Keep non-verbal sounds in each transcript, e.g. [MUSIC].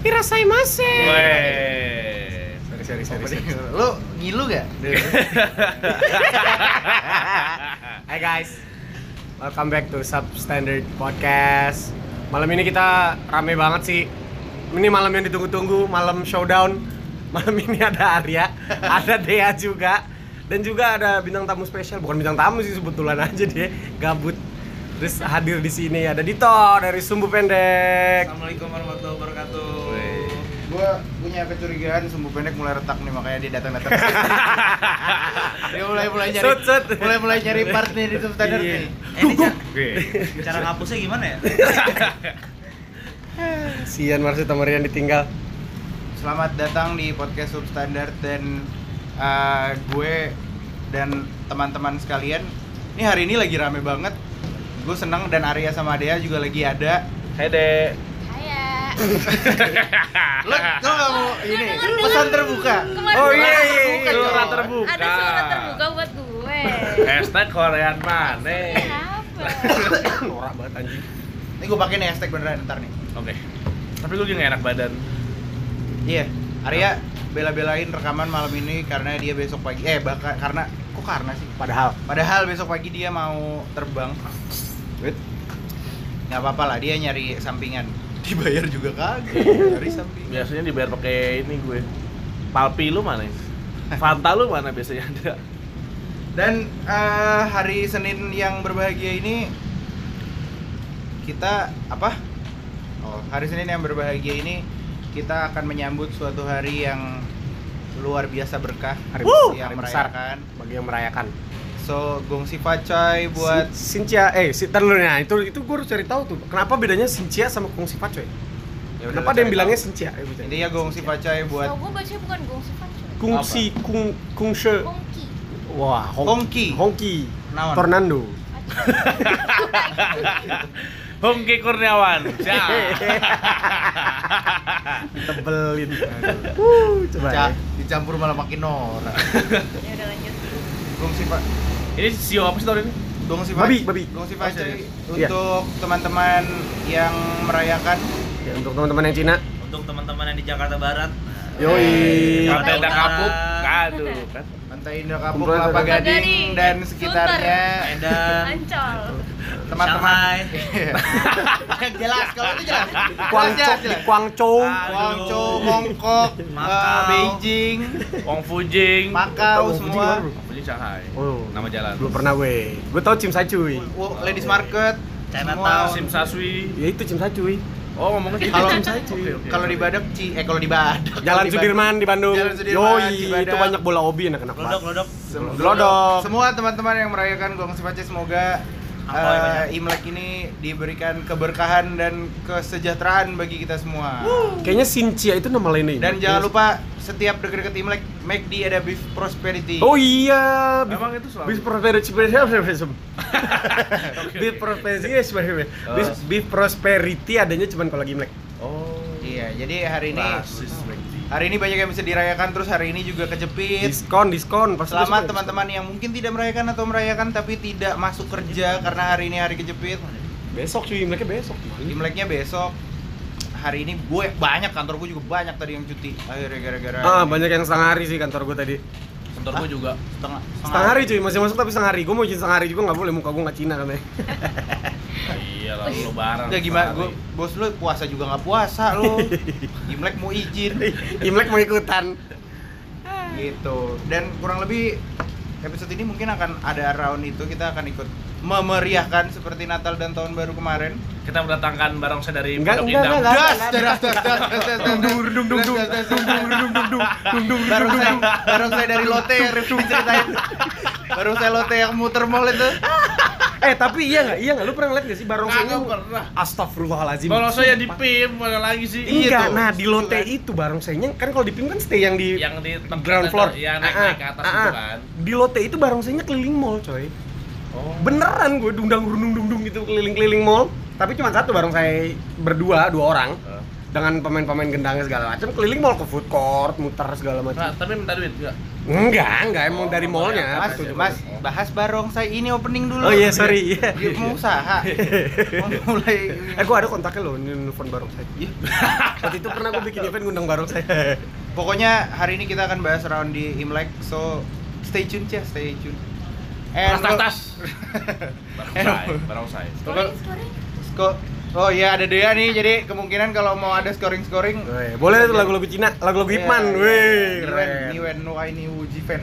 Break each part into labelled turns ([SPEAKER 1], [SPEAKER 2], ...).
[SPEAKER 1] Hirasai Mase.
[SPEAKER 2] Weh.
[SPEAKER 3] Sorry, sorry, sorry.
[SPEAKER 4] Opening.
[SPEAKER 3] sorry.
[SPEAKER 4] Lu ngilu gak?
[SPEAKER 3] Hai guys, welcome back to Substandard Podcast. Malam ini kita rame banget sih. Ini malam yang ditunggu-tunggu, malam showdown. [LAUGHS] Malam ini ada [LAUGHS] Arya, ada Dea juga, dan juga ada bintang tamu spesial. Bukan bintang tamu sih kebetulan aja dia gabut. Terus hadir di sini ada Dito dari Sumbu Pendek.
[SPEAKER 1] Assalamualaikum warahmatullahi wabarakatuh.
[SPEAKER 4] Gua punya kecurigaan sumbu pendek mulai retak nih makanya dia datang datang. dia mulai mulai nyari
[SPEAKER 3] Sut, sut.
[SPEAKER 4] mulai mulai nyari part nih di substandard
[SPEAKER 3] Iya.
[SPEAKER 4] nih.
[SPEAKER 1] Eh, ini cara,
[SPEAKER 2] Weh.
[SPEAKER 1] cara ngapusnya gimana ya?
[SPEAKER 3] Sian Marsi sama Rian ditinggal.
[SPEAKER 4] Selamat datang di podcast substandard dan uh, gue dan teman-teman sekalian. Ini hari ini lagi rame banget. Gue seneng dan Arya sama Dea juga lagi ada.
[SPEAKER 2] Hai deh.
[SPEAKER 5] Kayak
[SPEAKER 4] Lo, lo gak mau ini
[SPEAKER 5] Dengar, dengar.
[SPEAKER 4] pesan terbuka.
[SPEAKER 5] Kemarin
[SPEAKER 3] Oh iya iya
[SPEAKER 5] surat
[SPEAKER 3] iya,
[SPEAKER 4] terbuka,
[SPEAKER 3] lu
[SPEAKER 4] coy.
[SPEAKER 3] orang terbuka.
[SPEAKER 5] ada surat terbuka buat
[SPEAKER 3] [LAUGHS]
[SPEAKER 5] gue.
[SPEAKER 2] Hashtag Korean mana?
[SPEAKER 5] Kenapa?
[SPEAKER 3] Norak banget anjing.
[SPEAKER 4] Ini gue pakai nih hashtag beneran ntar nih.
[SPEAKER 2] Oke. Tapi gue juga gak enak badan.
[SPEAKER 4] Iya, Arya bela-belain rekaman malam ini karena dia besok pagi eh bakal karena kok karena sih?
[SPEAKER 3] Padahal
[SPEAKER 4] Padahal besok pagi dia mau terbang. Wait. Nggak apa-apa lah, dia nyari sampingan. Dibayar juga kagak, nyari sampingan.
[SPEAKER 2] Biasanya dibayar pakai ini gue. Palpi lu mana? Fanta lu mana biasanya ada?
[SPEAKER 4] Dan eh, hari Senin yang berbahagia ini kita apa? Oh, hari Senin yang berbahagia ini kita akan menyambut suatu hari yang luar biasa berkah,
[SPEAKER 3] Hari besar,
[SPEAKER 4] yang
[SPEAKER 3] hari besar. kan?
[SPEAKER 4] merayakan.
[SPEAKER 3] bagi yang merayakan.
[SPEAKER 4] So, gongsi pacoy buat
[SPEAKER 3] Sin- Sincia, eh si ntar dulu, nah itu itu gue harus cari tahu tuh. Kenapa bedanya Sincia sama Kong Sifat coy?
[SPEAKER 4] Ya udah,
[SPEAKER 3] Kenapa
[SPEAKER 4] lu
[SPEAKER 3] ada yang
[SPEAKER 4] cari
[SPEAKER 3] bilangnya Eh,
[SPEAKER 4] tahu.
[SPEAKER 3] Sincia? Ayo, gua cari.
[SPEAKER 4] intinya gongsi pacoy buat
[SPEAKER 5] Tahu gue baca bukan gongsi kan cuy.
[SPEAKER 3] Kung Si Kung Kung She. [LAUGHS]
[SPEAKER 5] Gongki.
[SPEAKER 3] Wah,
[SPEAKER 4] Hongki.
[SPEAKER 3] Hongki.
[SPEAKER 4] Naon? [LAUGHS]
[SPEAKER 3] Tornado.
[SPEAKER 2] Hongki Kurniawan. Siap.
[SPEAKER 3] Tebelin. Wuh, coba. ya.
[SPEAKER 4] Ca- dicampur malah makin
[SPEAKER 3] [LAUGHS]
[SPEAKER 4] norak.
[SPEAKER 5] Ya udah lanjut.
[SPEAKER 4] gongsi pa
[SPEAKER 2] Ini sio apa sih tahun ini?
[SPEAKER 4] gongsi
[SPEAKER 3] Babi,
[SPEAKER 4] pa-
[SPEAKER 3] babi.
[SPEAKER 4] gongsi
[SPEAKER 3] Oh,
[SPEAKER 4] pacoy
[SPEAKER 3] serius? Iya.
[SPEAKER 4] untuk teman-teman yang merayakan
[SPEAKER 3] Ya, untuk teman-teman yang Cina.
[SPEAKER 1] Untuk teman-teman yang di Jakarta Barat,
[SPEAKER 3] Yoi.
[SPEAKER 4] Eh,
[SPEAKER 2] Kalau
[SPEAKER 1] Utara.
[SPEAKER 2] ada Iya. kapuk, aduh kan.
[SPEAKER 4] Pantai Indah Kapuk,
[SPEAKER 3] Kumpulan
[SPEAKER 4] Kelapa
[SPEAKER 3] saudara.
[SPEAKER 4] Gading
[SPEAKER 1] Eh,
[SPEAKER 5] Gading,
[SPEAKER 4] dan sekitarnya eh,
[SPEAKER 3] Nah.
[SPEAKER 1] Medan,
[SPEAKER 5] Ancol.
[SPEAKER 4] teman-teman [LAUGHS] Kan
[SPEAKER 1] Shanghai,
[SPEAKER 4] jelas kalau itu jelas
[SPEAKER 3] Guangzhou, di Guangzhou.
[SPEAKER 2] Ah.
[SPEAKER 4] Guangzhou, Mongkok,
[SPEAKER 1] Makau.
[SPEAKER 4] eh,
[SPEAKER 1] [LAUGHS]
[SPEAKER 4] Beijing,
[SPEAKER 2] Wong Fujing.
[SPEAKER 4] Makau
[SPEAKER 3] Wong Fujing
[SPEAKER 4] semua,
[SPEAKER 3] baru.
[SPEAKER 2] Wong Fujing Shanghai.
[SPEAKER 3] Oh.
[SPEAKER 2] Nama jalan.
[SPEAKER 3] Belum pernah gue. Gue tau Cimsa cuy.
[SPEAKER 4] Wo- Ladies Market,
[SPEAKER 1] Chinatown.
[SPEAKER 4] semua.
[SPEAKER 2] Sim Saswi.
[SPEAKER 3] Ya itu Cimsa cuy.
[SPEAKER 2] Oh, ngomongnya gitu.
[SPEAKER 4] Kalau [LAUGHS]
[SPEAKER 2] Oke, oke,
[SPEAKER 4] kalau
[SPEAKER 2] sorry.
[SPEAKER 4] di Badak Ci, eh kalau di Badak.
[SPEAKER 3] Jalan
[SPEAKER 4] kalau di
[SPEAKER 3] Sudirman di Bandung.
[SPEAKER 4] Jalan Sudirman,
[SPEAKER 3] Yoi,
[SPEAKER 4] Cibadak.
[SPEAKER 3] itu banyak bola obi enak-enak banget.
[SPEAKER 1] Lodok, Lodok.
[SPEAKER 4] Badak.
[SPEAKER 3] Glodok.
[SPEAKER 4] Semua teman-teman yang merayakan Gong Sipace semoga eh,
[SPEAKER 1] Ampoi banyak.
[SPEAKER 4] Imlek ini diberikan keberkahan dan kesejahteraan bagi kita semua.
[SPEAKER 3] Kayaknya Sincia itu nama lainnya. ya?
[SPEAKER 4] Dan jangan lupa setiap deket-deket Imlek McD ada beef prosperity.
[SPEAKER 3] Oh iya,
[SPEAKER 2] Emang itu selalu-
[SPEAKER 3] Beef prosperity, beef
[SPEAKER 2] Oke, oke.
[SPEAKER 3] prosperity, beef, beef prosperity adanya cuman kalau lagi Imlek.
[SPEAKER 2] Oh.
[SPEAKER 4] Iya, jadi hari ini
[SPEAKER 2] Rasis, Mekdi.
[SPEAKER 4] hari ini banyak yang bisa dirayakan terus hari ini juga kejepit.
[SPEAKER 3] Diskon, diskon. Pasti
[SPEAKER 4] Selamat
[SPEAKER 3] diskon.
[SPEAKER 4] teman-teman yang mungkin tidak merayakan atau merayakan tapi tidak masuk kerja karena hari ini hari kejepit.
[SPEAKER 3] Besok cuy, Imleknya besok.
[SPEAKER 4] Imleknya besok. Hari ini gue banyak kantor gue juga banyak tadi yang cuti. Akhirnya gara-gara
[SPEAKER 3] Ah, banyak yang setengah hari sih kantor gue tadi.
[SPEAKER 2] Kantor gua juga.
[SPEAKER 4] setengah
[SPEAKER 3] Setengah hari cuy, masih masuk tapi setengah hari. Gue mau izin setengah hari juga nggak boleh, muka gue nggak Cina katanya.
[SPEAKER 2] Iya lah, lu lebaran.
[SPEAKER 4] Enggak Ya, gimana
[SPEAKER 2] setengah
[SPEAKER 4] gue
[SPEAKER 2] hari.
[SPEAKER 4] bos lu puasa juga nggak puasa
[SPEAKER 3] [LAUGHS]
[SPEAKER 4] lu. Imlek mau izin
[SPEAKER 3] Imlek mau ikutan.
[SPEAKER 4] gitu. Dan kurang lebih episode ini mungkin akan ada round itu kita akan ikut memeriahkan seperti Natal dan tahun baru kemarin.
[SPEAKER 2] Kita mendatangkan barongsai dari
[SPEAKER 3] Enggak,
[SPEAKER 2] Pondok
[SPEAKER 3] enggak,
[SPEAKER 2] Indah.
[SPEAKER 3] enggak, enggak.
[SPEAKER 4] Das das das das das dung dung dung dung dung dung dung baru saya baru saya dari Lotte yang Rifki ceritain baru saya Lotte yang muter mall itu
[SPEAKER 3] eh tapi iya nggak, iya nggak. Lu pernah ngeliat nggak sih barongsainya?
[SPEAKER 2] Kagak pernah.
[SPEAKER 3] Astagfirullahalazim.
[SPEAKER 2] Barongsai yang di PIM mana lagi sih?
[SPEAKER 4] Iya
[SPEAKER 3] Enggak,
[SPEAKER 4] tuh.
[SPEAKER 3] nah di lote itu barongsainya kan kalau di PIM kan stay yang di
[SPEAKER 2] Yang di tempat-
[SPEAKER 3] ground floor.
[SPEAKER 2] Iya, naik naik ke atas
[SPEAKER 3] Ah, ah,
[SPEAKER 2] gitu
[SPEAKER 3] ah.
[SPEAKER 2] kan.
[SPEAKER 3] Di lote itu barongsainya keliling mall, coy.
[SPEAKER 2] Oh.
[SPEAKER 3] Beneran gue dundang dung dung dung gitu keliling-keliling mall. Tapi cuma satu barongsai berdua, dua orang dengan pemain-pemain gendangnya segala macam keliling mall ke food court, muter segala
[SPEAKER 2] Nah, Oh,
[SPEAKER 3] macam.
[SPEAKER 2] tapi minta duit enggak?
[SPEAKER 3] Enggak, enggak emang dari mallnya.
[SPEAKER 4] Mas,
[SPEAKER 3] Setuju,
[SPEAKER 4] mas, bahas barongsai ini opening dulu.
[SPEAKER 3] Oh iya, sorry. Iya.
[SPEAKER 4] Yuk mau
[SPEAKER 3] [LAUGHS]
[SPEAKER 4] usaha. Mau mulai.
[SPEAKER 3] Eh, gua ada kontaknya loh, ini nelfon barong saya.
[SPEAKER 4] Iya.
[SPEAKER 3] [LAUGHS] Waktu itu pernah gua bikin event ngundang barong saya.
[SPEAKER 4] Pokoknya hari ini kita akan bahas round di Imlek, so stay tune ya, stay tune.
[SPEAKER 2] Tas, tas,
[SPEAKER 4] lo- [LAUGHS]
[SPEAKER 2] tas. Barang usai, barang usai.
[SPEAKER 5] Scoring, scoring.
[SPEAKER 4] Sko- oh iya ada Dea nih, jadi kemungkinan kalau mau ada scoring scoring.
[SPEAKER 3] Weh, boleh tuh lagu-lagu Cina, lagu-lagu Ipman.
[SPEAKER 4] Iya,
[SPEAKER 3] Weh, keren.
[SPEAKER 4] Niwen, Niwen, no I ni Uji fan.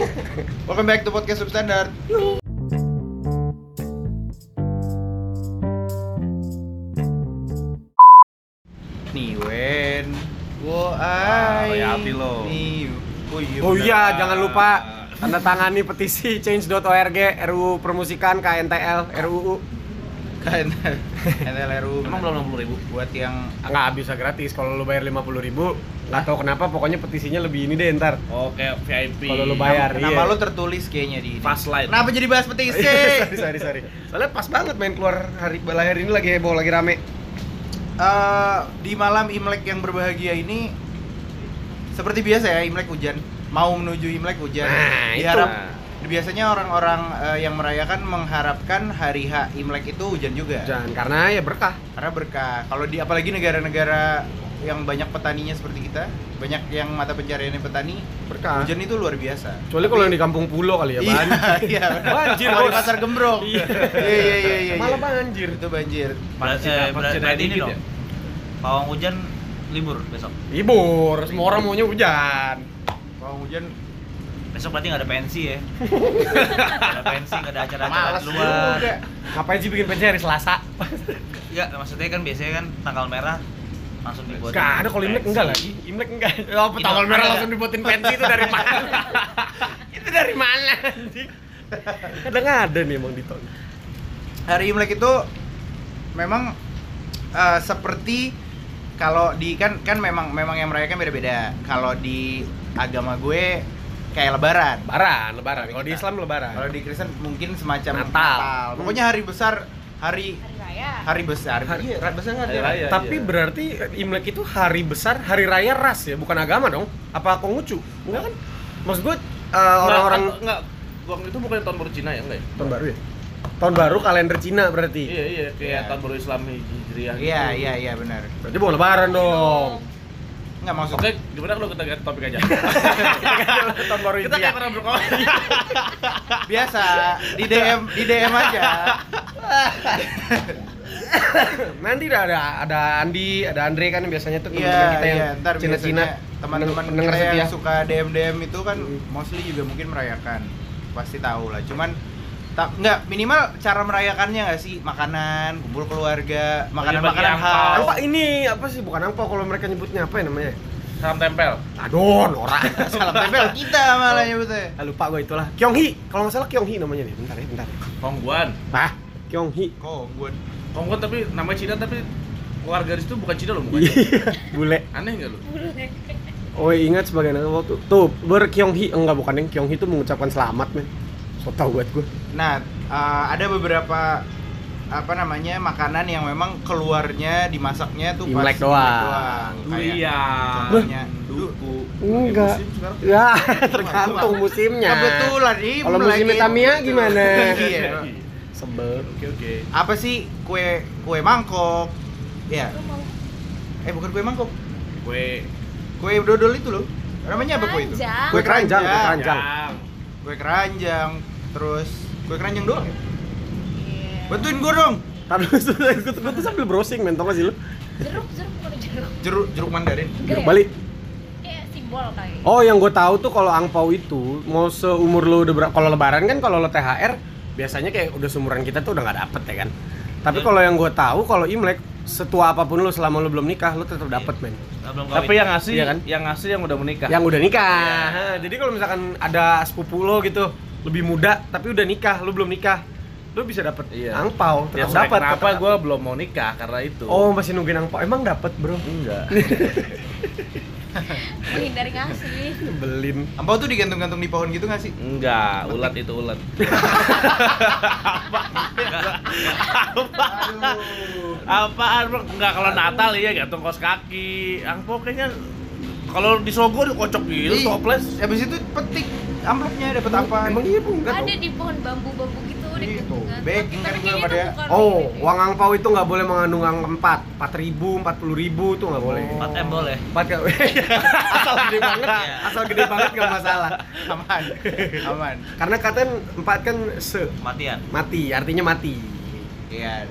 [SPEAKER 4] [LAUGHS] Welcome back to podcast substandard. Niwen, wo ai.
[SPEAKER 2] loyalty lo.
[SPEAKER 4] ni- Oh iya.
[SPEAKER 3] Oh
[SPEAKER 4] bener.
[SPEAKER 3] iya, jangan lupa tanda tangani petisi change.org RUU Permusikan KNTL RUU
[SPEAKER 4] Kan [LAUGHS] NLRU.
[SPEAKER 2] Emang belum 60 ribu?
[SPEAKER 4] buat yang
[SPEAKER 3] nggak bisa gratis kalau lu bayar 50.000 ribu nggak tahu kenapa pokoknya petisinya lebih ini deh ntar
[SPEAKER 2] Oke, VIP.
[SPEAKER 3] Kalau lu bayar. Iya. [LAUGHS] Oh
[SPEAKER 4] nama lu tertulis kayaknya di ini.
[SPEAKER 2] Pas light.
[SPEAKER 4] Kenapa jadi bahas petisi?
[SPEAKER 3] sorry sorry sorry soalnya pas banget main keluar hari balai hari ini lagi heboh lagi rame
[SPEAKER 4] Eh, di malam Imlek yang berbahagia ini seperti biasa ya Imlek hujan mau menuju Imlek hujan
[SPEAKER 3] Nah, itu.
[SPEAKER 4] diharap biasanya orang-orang eh, yang merayakan mengharapkan hari H Imlek itu hujan juga
[SPEAKER 3] jangan karena ya berkah
[SPEAKER 4] karena berkah kalau di apalagi negara-negara yang banyak petaninya seperti kita banyak yang mata pencariannya petani
[SPEAKER 3] berkah
[SPEAKER 4] hujan itu luar biasa
[SPEAKER 3] kecuali kalau yang di kampung pulau kali ya
[SPEAKER 4] iya
[SPEAKER 3] banjir
[SPEAKER 4] iya
[SPEAKER 3] Banjir,
[SPEAKER 4] Kalau di
[SPEAKER 3] bos.
[SPEAKER 4] pasar gembrong
[SPEAKER 3] Iya.
[SPEAKER 4] iya iya iya iya
[SPEAKER 3] malah banjir
[SPEAKER 4] itu banjir
[SPEAKER 2] Masih
[SPEAKER 1] Eh,
[SPEAKER 2] dapat
[SPEAKER 1] berarti
[SPEAKER 2] cedera
[SPEAKER 1] ini
[SPEAKER 2] dikit
[SPEAKER 1] dong.
[SPEAKER 2] ya?
[SPEAKER 1] Pawang hujan libur besok.
[SPEAKER 3] libur semua orang maunya hujan
[SPEAKER 4] kalau hujan
[SPEAKER 1] Besok berarti nggak ada pensi
[SPEAKER 2] [LAUGHS]
[SPEAKER 1] ya. Nggak ada pensi, nggak ada acara-acara
[SPEAKER 4] Males
[SPEAKER 1] di luar.
[SPEAKER 4] juga.
[SPEAKER 3] ngapain sih bikin pensi hari Selasa
[SPEAKER 1] Iya, maksudnya kan biasanya kan tanggal merah langsung dibuat.
[SPEAKER 3] Gak ada kalau Imlek enggak lagi. Imlek enggak. Ya apa
[SPEAKER 1] Itu
[SPEAKER 3] tanggal merah
[SPEAKER 1] ada.
[SPEAKER 3] langsung dibuatin pensi itu dari mana? [LAUGHS] itu dari mana anjing? Kadang ada nih emang di tahun.
[SPEAKER 4] hari Imlek itu memang eh, seperti kalau di kan kan memang memang yang merayakan beda-beda. Kalau di agama gue kayak lebaran.
[SPEAKER 3] Lebaran, lebaran. Kalau di Islam lebaran.
[SPEAKER 4] Kalau di Kristen mungkin semacam
[SPEAKER 3] Natal. Hmm.
[SPEAKER 4] Pokoknya hari besar, hari
[SPEAKER 5] Hari raya.
[SPEAKER 4] hari besar.
[SPEAKER 3] Hari-
[SPEAKER 4] Hari, besar nggak
[SPEAKER 2] Hari
[SPEAKER 4] ada.
[SPEAKER 2] raya.
[SPEAKER 3] Tapi
[SPEAKER 2] iya.
[SPEAKER 3] berarti Imlek itu hari besar, hari raya ras ya, bukan agama dong. Apa Konghucu? Enggak kan? Maksud gue eh, orang-orang
[SPEAKER 1] kan
[SPEAKER 2] Nggak, nggak. Waktu itu bukan tahun baru Cina ya, enggak ya?
[SPEAKER 3] tahun baru ya. Tahun baru kalender Cina berarti.
[SPEAKER 2] Iya, iya, kayak
[SPEAKER 4] Iya.
[SPEAKER 2] tahun baru Islam Hijriah. gitu.
[SPEAKER 4] Iya iya iya benar.
[SPEAKER 3] Berarti bukan
[SPEAKER 4] Iya
[SPEAKER 3] lebaran dong.
[SPEAKER 4] Nggak maksud.
[SPEAKER 2] Oke, gimana kalau kita ganti topik aja?
[SPEAKER 1] [LAUGHS]
[SPEAKER 2] Iya.
[SPEAKER 3] tahun baru
[SPEAKER 2] kita kayak pernah berkomunikasi.
[SPEAKER 4] Biasa di DM di DM aja.
[SPEAKER 3] [LAUGHS] Nanti dah ada ada Andi, ada Andre kan biasanya tuh
[SPEAKER 4] Iya
[SPEAKER 3] teman-teman kita yang
[SPEAKER 4] iya. Ntar
[SPEAKER 3] Cina-Cina
[SPEAKER 4] biasanya teman-teman
[SPEAKER 3] pendengar
[SPEAKER 4] kita
[SPEAKER 3] setia.
[SPEAKER 4] yang suka DM DM itu kan
[SPEAKER 3] Hmm.
[SPEAKER 4] mostly juga mungkin merayakan pasti tahu lah. Cuman tak nggak minimal cara merayakannya nggak sih makanan kumpul
[SPEAKER 3] Oh,
[SPEAKER 4] keluarga
[SPEAKER 3] iya,
[SPEAKER 4] makanan makanan
[SPEAKER 2] Bagi-bagi angpau.
[SPEAKER 4] khas
[SPEAKER 3] Angpa ini apa sih bukan angpa kalau mereka nyebutnya apa ya namanya?
[SPEAKER 2] Salam tempel.
[SPEAKER 3] Adon,
[SPEAKER 4] [LAUGHS]
[SPEAKER 3] ora.
[SPEAKER 4] [LAUGHS] salam tempel kita malah nyebutnya
[SPEAKER 3] Ah, lupa gue itulah. Kyonghi, kalau nggak salah Kyonghi namanya nih. Bentar ya, bentar.
[SPEAKER 2] Kongguan.
[SPEAKER 3] Bah,
[SPEAKER 4] [LAUGHS]
[SPEAKER 3] Kyonghi.
[SPEAKER 4] kok gue
[SPEAKER 2] Kongguan Oh, tapi namanya Cina tapi keluarga di situ bukan Cina loh, bukan.
[SPEAKER 3] Iya, bule.
[SPEAKER 2] Aneh enggak lu?
[SPEAKER 3] Oh ingat sebagai nama waktu tuh ber Kyonghi enggak bukan yang Kyonghi itu mengucapkan selamat men. So tau buat gue.
[SPEAKER 4] nah eh, ada beberapa apa namanya makanan yang memang keluarnya dimasaknya tuh
[SPEAKER 3] Imlek
[SPEAKER 4] Imlek
[SPEAKER 3] doang.
[SPEAKER 4] Kayak
[SPEAKER 2] Durian,
[SPEAKER 4] contohnya duku
[SPEAKER 3] Enggak.
[SPEAKER 2] musim sekarang. Ya,
[SPEAKER 3] Ya, [LAUGHS] tergantung musimnya.
[SPEAKER 4] kebetulan ini
[SPEAKER 3] Iya. Kalau musimnya Tamiya gimana?
[SPEAKER 4] [LAUGHS] iya
[SPEAKER 3] Sebel.
[SPEAKER 2] Oke, oke.
[SPEAKER 4] apa sih kue kue mangkok ya
[SPEAKER 5] Gua mau
[SPEAKER 4] eh bukan kue mangkok
[SPEAKER 2] Kue
[SPEAKER 4] kue dodol itu loh namanya apa kue itu
[SPEAKER 5] Keranjang.
[SPEAKER 3] Kue keranjang, kue keranjang.
[SPEAKER 2] panjang.
[SPEAKER 4] kue keranjang terus kue keranjang doang ya?
[SPEAKER 5] Iya.
[SPEAKER 4] bantuin gue dong
[SPEAKER 2] Ya.
[SPEAKER 3] Tapi gue tuh- [LAUGHS] gue tuh sambil browsing men, tau gak sih lu?
[SPEAKER 5] Jeruk, jeruk, bukan jeruk.
[SPEAKER 4] jeruk jeruk mandarin
[SPEAKER 5] Enggak
[SPEAKER 3] Jeruk
[SPEAKER 5] ya?
[SPEAKER 3] balik.
[SPEAKER 5] Kayak simbol kali.
[SPEAKER 3] Oh, yang gue tahu tuh kalau angpau itu mau seumur lo udah berapa? Kalau lebaran kan kalau lo THR biasanya kayak udah seumuran kita tuh udah nggak dapet ya kan. Tapi
[SPEAKER 2] Hmm.
[SPEAKER 3] kalau yang gue tahu kalau Imlek setua apapun lo selama lo belum nikah lo tetap dapet
[SPEAKER 2] Iya.
[SPEAKER 3] men.
[SPEAKER 1] Nah, belum
[SPEAKER 2] Tapi yang ngasih,
[SPEAKER 3] Iya kan?
[SPEAKER 2] yang ngasih yang udah menikah.
[SPEAKER 3] Yang udah nikah. Hah, Iya, Jadi kalau misalkan ada sepupu lo gitu lebih muda tapi udah nikah lo belum nikah lo bisa dapet
[SPEAKER 2] Iya.
[SPEAKER 3] angpau
[SPEAKER 2] Ya,
[SPEAKER 3] tetap
[SPEAKER 2] sampai
[SPEAKER 3] dapet.
[SPEAKER 2] Kenapa
[SPEAKER 3] tetap
[SPEAKER 2] gue belum mau nikah karena itu? Hmm.
[SPEAKER 3] dapet. Oh masih nungguin angpau emang dapet bro?
[SPEAKER 2] enggak.
[SPEAKER 5] Menghindari ngasih.
[SPEAKER 3] Nyebelin.
[SPEAKER 4] Ampau tuh digantung-gantung di pohon gitu gak sih?
[SPEAKER 2] enggak, ulat itu ulat. [LAUGHS]
[SPEAKER 4] Aduh.
[SPEAKER 2] Apaan bro? Enggak kalau Natal iya gantung kos kaki. Angpo kayaknya Kalau di Sogo dikocok gitu,
[SPEAKER 4] Ih,
[SPEAKER 2] toples.
[SPEAKER 4] Habis itu petik amplopnya dapat apa?
[SPEAKER 3] Emang iya pun enggak
[SPEAKER 5] ada
[SPEAKER 3] tuh.
[SPEAKER 5] di pohon bambu-bambu gitu di
[SPEAKER 4] Iya, tuh.
[SPEAKER 5] pegunungan.
[SPEAKER 4] Backing
[SPEAKER 5] Tapi
[SPEAKER 4] kan gua
[SPEAKER 5] kayaknya itu
[SPEAKER 4] pada-
[SPEAKER 5] bukan
[SPEAKER 3] Oh,
[SPEAKER 5] ini deh.
[SPEAKER 3] uang angpau itu nggak boleh mengandung angka empat, empat ribu, empat puluh ribu tuh nggak boleh.
[SPEAKER 2] Oh.
[SPEAKER 1] 4M boleh.
[SPEAKER 3] Empat nggak- [LAUGHS] asal gede banget,
[SPEAKER 1] Iya.
[SPEAKER 3] asal gede banget nggak masalah.
[SPEAKER 4] Aman. Aman.
[SPEAKER 3] Karena kata empat kan se
[SPEAKER 1] Kematian.
[SPEAKER 3] mati, artinya mati.
[SPEAKER 4] Iya.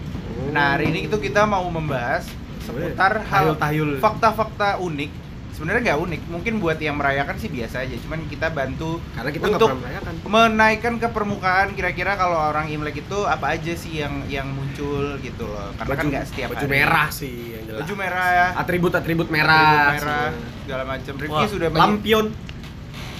[SPEAKER 4] Nah, hari ini itu kita mau membahas
[SPEAKER 3] Iya,
[SPEAKER 4] seputar hal
[SPEAKER 3] Tahyul-tahyul.
[SPEAKER 4] fakta-fakta unik. Sebenarnya nggak unik, mungkin buat yang merayakan sih biasa aja. Cuman kita bantu
[SPEAKER 3] Karena kita nggak
[SPEAKER 4] untuk
[SPEAKER 3] pernah merayakan.
[SPEAKER 4] menaikkan ke permukaan kira-kira kalau orang Imlek itu apa aja sih yang yang muncul gitu loh. Karena kan
[SPEAKER 3] Baju-
[SPEAKER 4] nggak setiap
[SPEAKER 3] baju
[SPEAKER 4] hari.
[SPEAKER 3] merah sih yang jelas.
[SPEAKER 4] Baju merah ya.
[SPEAKER 3] Atribut-atribut
[SPEAKER 4] atribut
[SPEAKER 3] merah.
[SPEAKER 4] merah, segala macam. Rifki
[SPEAKER 1] Wah,
[SPEAKER 4] sudah menye-
[SPEAKER 3] Lampion.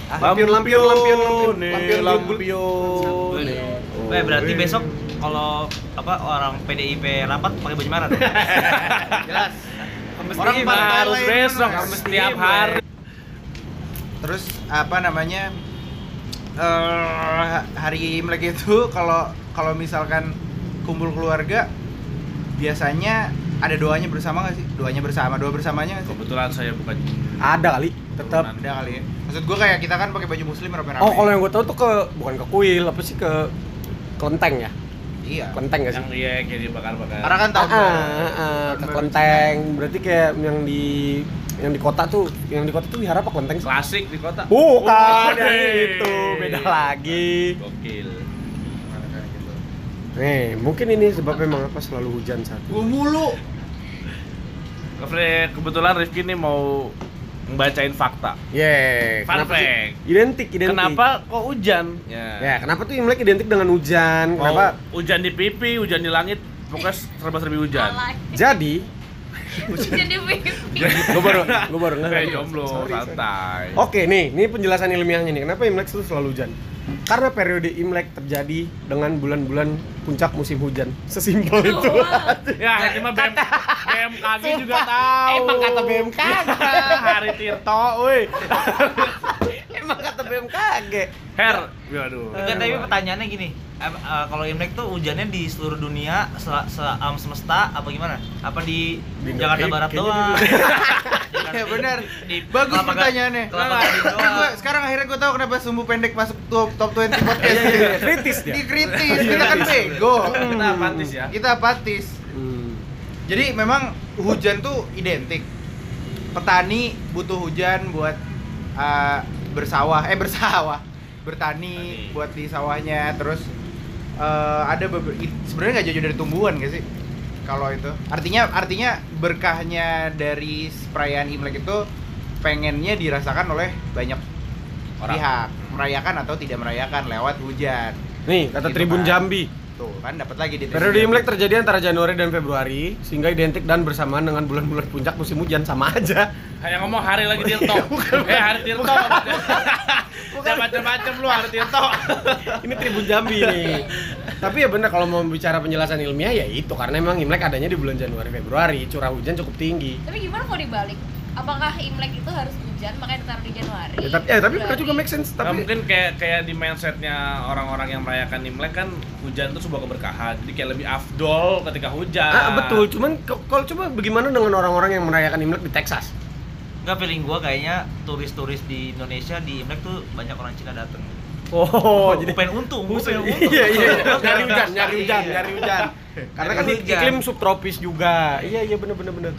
[SPEAKER 4] Ah,
[SPEAKER 3] Lampion, lampion, lampion, lampion, lampion, lampion.
[SPEAKER 2] lampion.
[SPEAKER 5] Iya.
[SPEAKER 1] eh berarti
[SPEAKER 3] iya.
[SPEAKER 1] besok kalau apa orang PDIP rapat pakai baju merah.
[SPEAKER 2] [LAUGHS]
[SPEAKER 1] dong?
[SPEAKER 4] Jelas.
[SPEAKER 2] Orang
[SPEAKER 4] Orang
[SPEAKER 2] mah
[SPEAKER 4] partai
[SPEAKER 2] harus
[SPEAKER 4] lain
[SPEAKER 2] besok
[SPEAKER 4] bener.
[SPEAKER 2] setiap hari.
[SPEAKER 4] Terus apa namanya? eh hari Imlek itu [LAUGHS] kalau kalau misalkan kumpul keluarga biasanya ada doanya bersama nggak sih? Doanya bersama, doa bersamanya nggak sih?
[SPEAKER 2] Kebetulan saya bukan
[SPEAKER 3] Ada kali, tetap.
[SPEAKER 2] Turunan.
[SPEAKER 4] Ada kali ya. Maksud gua kayak kita kan pakai baju muslim rame-rame.
[SPEAKER 3] Oh, kalau yang gue tahu tuh ke bukan ke kuil, apa sih ke kelenteng ya?
[SPEAKER 4] iya.
[SPEAKER 3] Kelenteng gak sih?
[SPEAKER 2] yang iya kayak dibakar-bakar.
[SPEAKER 4] Karena kan
[SPEAKER 3] Ah,
[SPEAKER 4] tahun
[SPEAKER 3] ah,
[SPEAKER 4] baru.
[SPEAKER 3] ah, ke
[SPEAKER 4] Tahun baru.
[SPEAKER 3] kelenteng. Berarti kayak yang di yang di kota tuh, yang di kota tuh wihara apa kelenteng? sih?
[SPEAKER 2] klasik di kota.
[SPEAKER 3] Bukan yang
[SPEAKER 2] Hey.
[SPEAKER 3] itu, beda lagi.
[SPEAKER 2] Gokil.
[SPEAKER 4] Kayak gitu.
[SPEAKER 3] Nih, mungkin ini sebab memang apa selalu hujan saat
[SPEAKER 4] Gua mulu.
[SPEAKER 2] Kefre, kebetulan Rifki ini mau membacain fakta.
[SPEAKER 3] Yeay,
[SPEAKER 2] Fun
[SPEAKER 3] kenapa sih?
[SPEAKER 2] fact.
[SPEAKER 3] Identik, identik.
[SPEAKER 2] Kenapa kok hujan?
[SPEAKER 3] Ya, kenapa tuh Imlek identik dengan hujan?
[SPEAKER 2] Mau
[SPEAKER 3] Kenapa?
[SPEAKER 2] hujan di pipi, hujan di langit, pokoknya serba-serbi hujan.
[SPEAKER 5] Alay.
[SPEAKER 3] Jadi,
[SPEAKER 5] [LAUGHS] Jadi pipi.
[SPEAKER 3] gue [LAUGHS] baru, gue baru nggak.
[SPEAKER 2] Kayak jomblo, Eh, ya santai.
[SPEAKER 3] Oke nih, ini penjelasan ilmiahnya nih. Kenapa Imlek itu selalu hujan? Karena periode Imlek terjadi dengan bulan-bulan puncak musim hujan. Sesimpel itu.
[SPEAKER 5] Wow.
[SPEAKER 2] Ya, ini mah BM, BMKG juga
[SPEAKER 3] Sumpah,
[SPEAKER 2] tahu.
[SPEAKER 3] Emang kata BMKG.
[SPEAKER 2] [LAUGHS] Hari Tirto, woi.
[SPEAKER 3] Emang kata BMKG.
[SPEAKER 2] Her, waduh.
[SPEAKER 3] Eh,
[SPEAKER 1] Enggak, tapi pertanyaannya gini. em- eh, kalau Imlek tuh hujannya di seluruh dunia, se se alam semesta apa gimana? Apa di,
[SPEAKER 3] Di Iya, Indo-
[SPEAKER 1] Jakarta
[SPEAKER 3] kayak-
[SPEAKER 1] Barat
[SPEAKER 3] [LAUGHS] kayaknya
[SPEAKER 1] doang?
[SPEAKER 4] Ya benar.
[SPEAKER 1] Di-
[SPEAKER 4] Bagus
[SPEAKER 1] Kelapa-
[SPEAKER 4] pertanyaannya.
[SPEAKER 1] Kelapa
[SPEAKER 4] Nah, kan
[SPEAKER 1] Gading
[SPEAKER 4] gua-
[SPEAKER 1] doang.
[SPEAKER 4] sekarang akhirnya gue tahu kenapa sumbu pendek masuk top top 20 podcast.
[SPEAKER 3] Iya, iya, iya. Kritis dia.
[SPEAKER 4] Dikritis. Kita kan bego.
[SPEAKER 2] Kita apatis ya.
[SPEAKER 4] Kita apatis.
[SPEAKER 3] Hmm.
[SPEAKER 4] Jadi memang hujan tuh identik. Petani butuh hujan buat uh, bersawah, eh bersawah, bertani
[SPEAKER 2] Bertani.
[SPEAKER 4] buat di sawahnya. Terus uh, ada beber- i- sebenarnya nggak jauh dari tumbuhan gak sih? Kalau itu artinya artinya berkahnya dari perayaan Imlek itu pengennya dirasakan oleh banyak
[SPEAKER 2] Orang. Hmm.
[SPEAKER 4] pihak merayakan atau tidak merayakan lewat hujan.
[SPEAKER 3] Nih, kata
[SPEAKER 4] Gitu
[SPEAKER 3] Tribun
[SPEAKER 4] kan.
[SPEAKER 3] Jambi.
[SPEAKER 4] Tuh kan dapat lagi di
[SPEAKER 3] Periode Imlek terjadi antara Januari dan Februari, sehingga identik dan bersamaan dengan bulan-bulan puncak musim hujan sama aja.
[SPEAKER 2] Kayak ngomong hari
[SPEAKER 3] [LAUGHS]
[SPEAKER 2] lagi Tirto. Eh, hari Tirto. Jangan macam-macam lu hari Tirto.
[SPEAKER 3] Ini Tribun Jambi nih. Tapi ya benar kalau mau bicara penjelasan ilmiah ya itu karena emang Imlek adanya di bulan Januari Februari, curah hujan cukup tinggi.
[SPEAKER 5] Tapi gimana kalau dibalik? Apakah Imlek itu harus hujan makanya ditaruh di Januari?
[SPEAKER 3] Ya, tapi, ya, tapi benar
[SPEAKER 5] Februari?
[SPEAKER 3] juga make sense.
[SPEAKER 2] Nah,
[SPEAKER 3] Tapi
[SPEAKER 2] mungkin kayak kayak di mindsetnya orang-orang yang merayakan Imlek kan hujan itu sebuah keberkahan. Jadi kayak lebih afdol ketika hujan.
[SPEAKER 3] Ah, betul. Cuman ke- kalau coba bagaimana dengan orang-orang yang merayakan Imlek di Texas?
[SPEAKER 1] Enggak feeling gua kayaknya turis-turis di Indonesia di Imlek tuh banyak orang Cina dateng.
[SPEAKER 3] Oh,
[SPEAKER 1] Gua
[SPEAKER 3] jadi
[SPEAKER 1] [LAUGHS] pengen untung, gua pengen
[SPEAKER 3] [LAUGHS]
[SPEAKER 1] untung. [LAUGHS]
[SPEAKER 3] iya iya nyari hujan, nyari hujan, nyari hujan. Karena kan
[SPEAKER 1] Nyari
[SPEAKER 3] ik-
[SPEAKER 1] hujan.
[SPEAKER 3] iklim subtropis juga. Iya iya benar benar benar.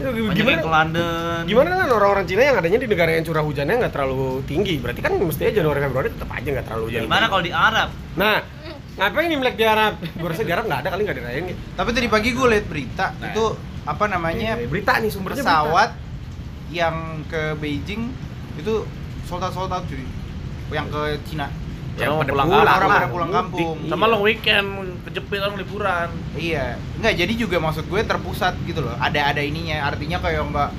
[SPEAKER 3] Itu
[SPEAKER 1] Banyak yang ke
[SPEAKER 3] Gimana?
[SPEAKER 1] London.
[SPEAKER 3] Gimana kan orang-orang Cina yang adanya di negara yang curah hujannya nggak terlalu tinggi? Berarti kan mestinya Januari Februari tetap aja nggak terlalu hujan.
[SPEAKER 1] Gimana kalau di Arab?
[SPEAKER 3] Nah,
[SPEAKER 5] Hmm,
[SPEAKER 3] ngapain Imlek di Arab? Gue rasa di Arab nggak ada kali nggak dirayain. gitu.
[SPEAKER 4] Tapi tadi pagi gue liat berita
[SPEAKER 2] Nah.
[SPEAKER 4] itu apa namanya
[SPEAKER 3] Eh, berita nih sumbernya berita.
[SPEAKER 4] pesawat yang ke Beijing itu sold out sold out cuy. Yang ke Cina.
[SPEAKER 3] Ya,
[SPEAKER 2] Orang
[SPEAKER 3] pada
[SPEAKER 2] pulang
[SPEAKER 3] pulang,
[SPEAKER 4] orang
[SPEAKER 3] lah.
[SPEAKER 4] pada pulang kampung.
[SPEAKER 2] Sama long weekend, kejepit orang liburan.
[SPEAKER 4] Iya. Enggak jadi juga maksud gue terpusat gitu loh. Ada ada ininya. Artinya kayak mbak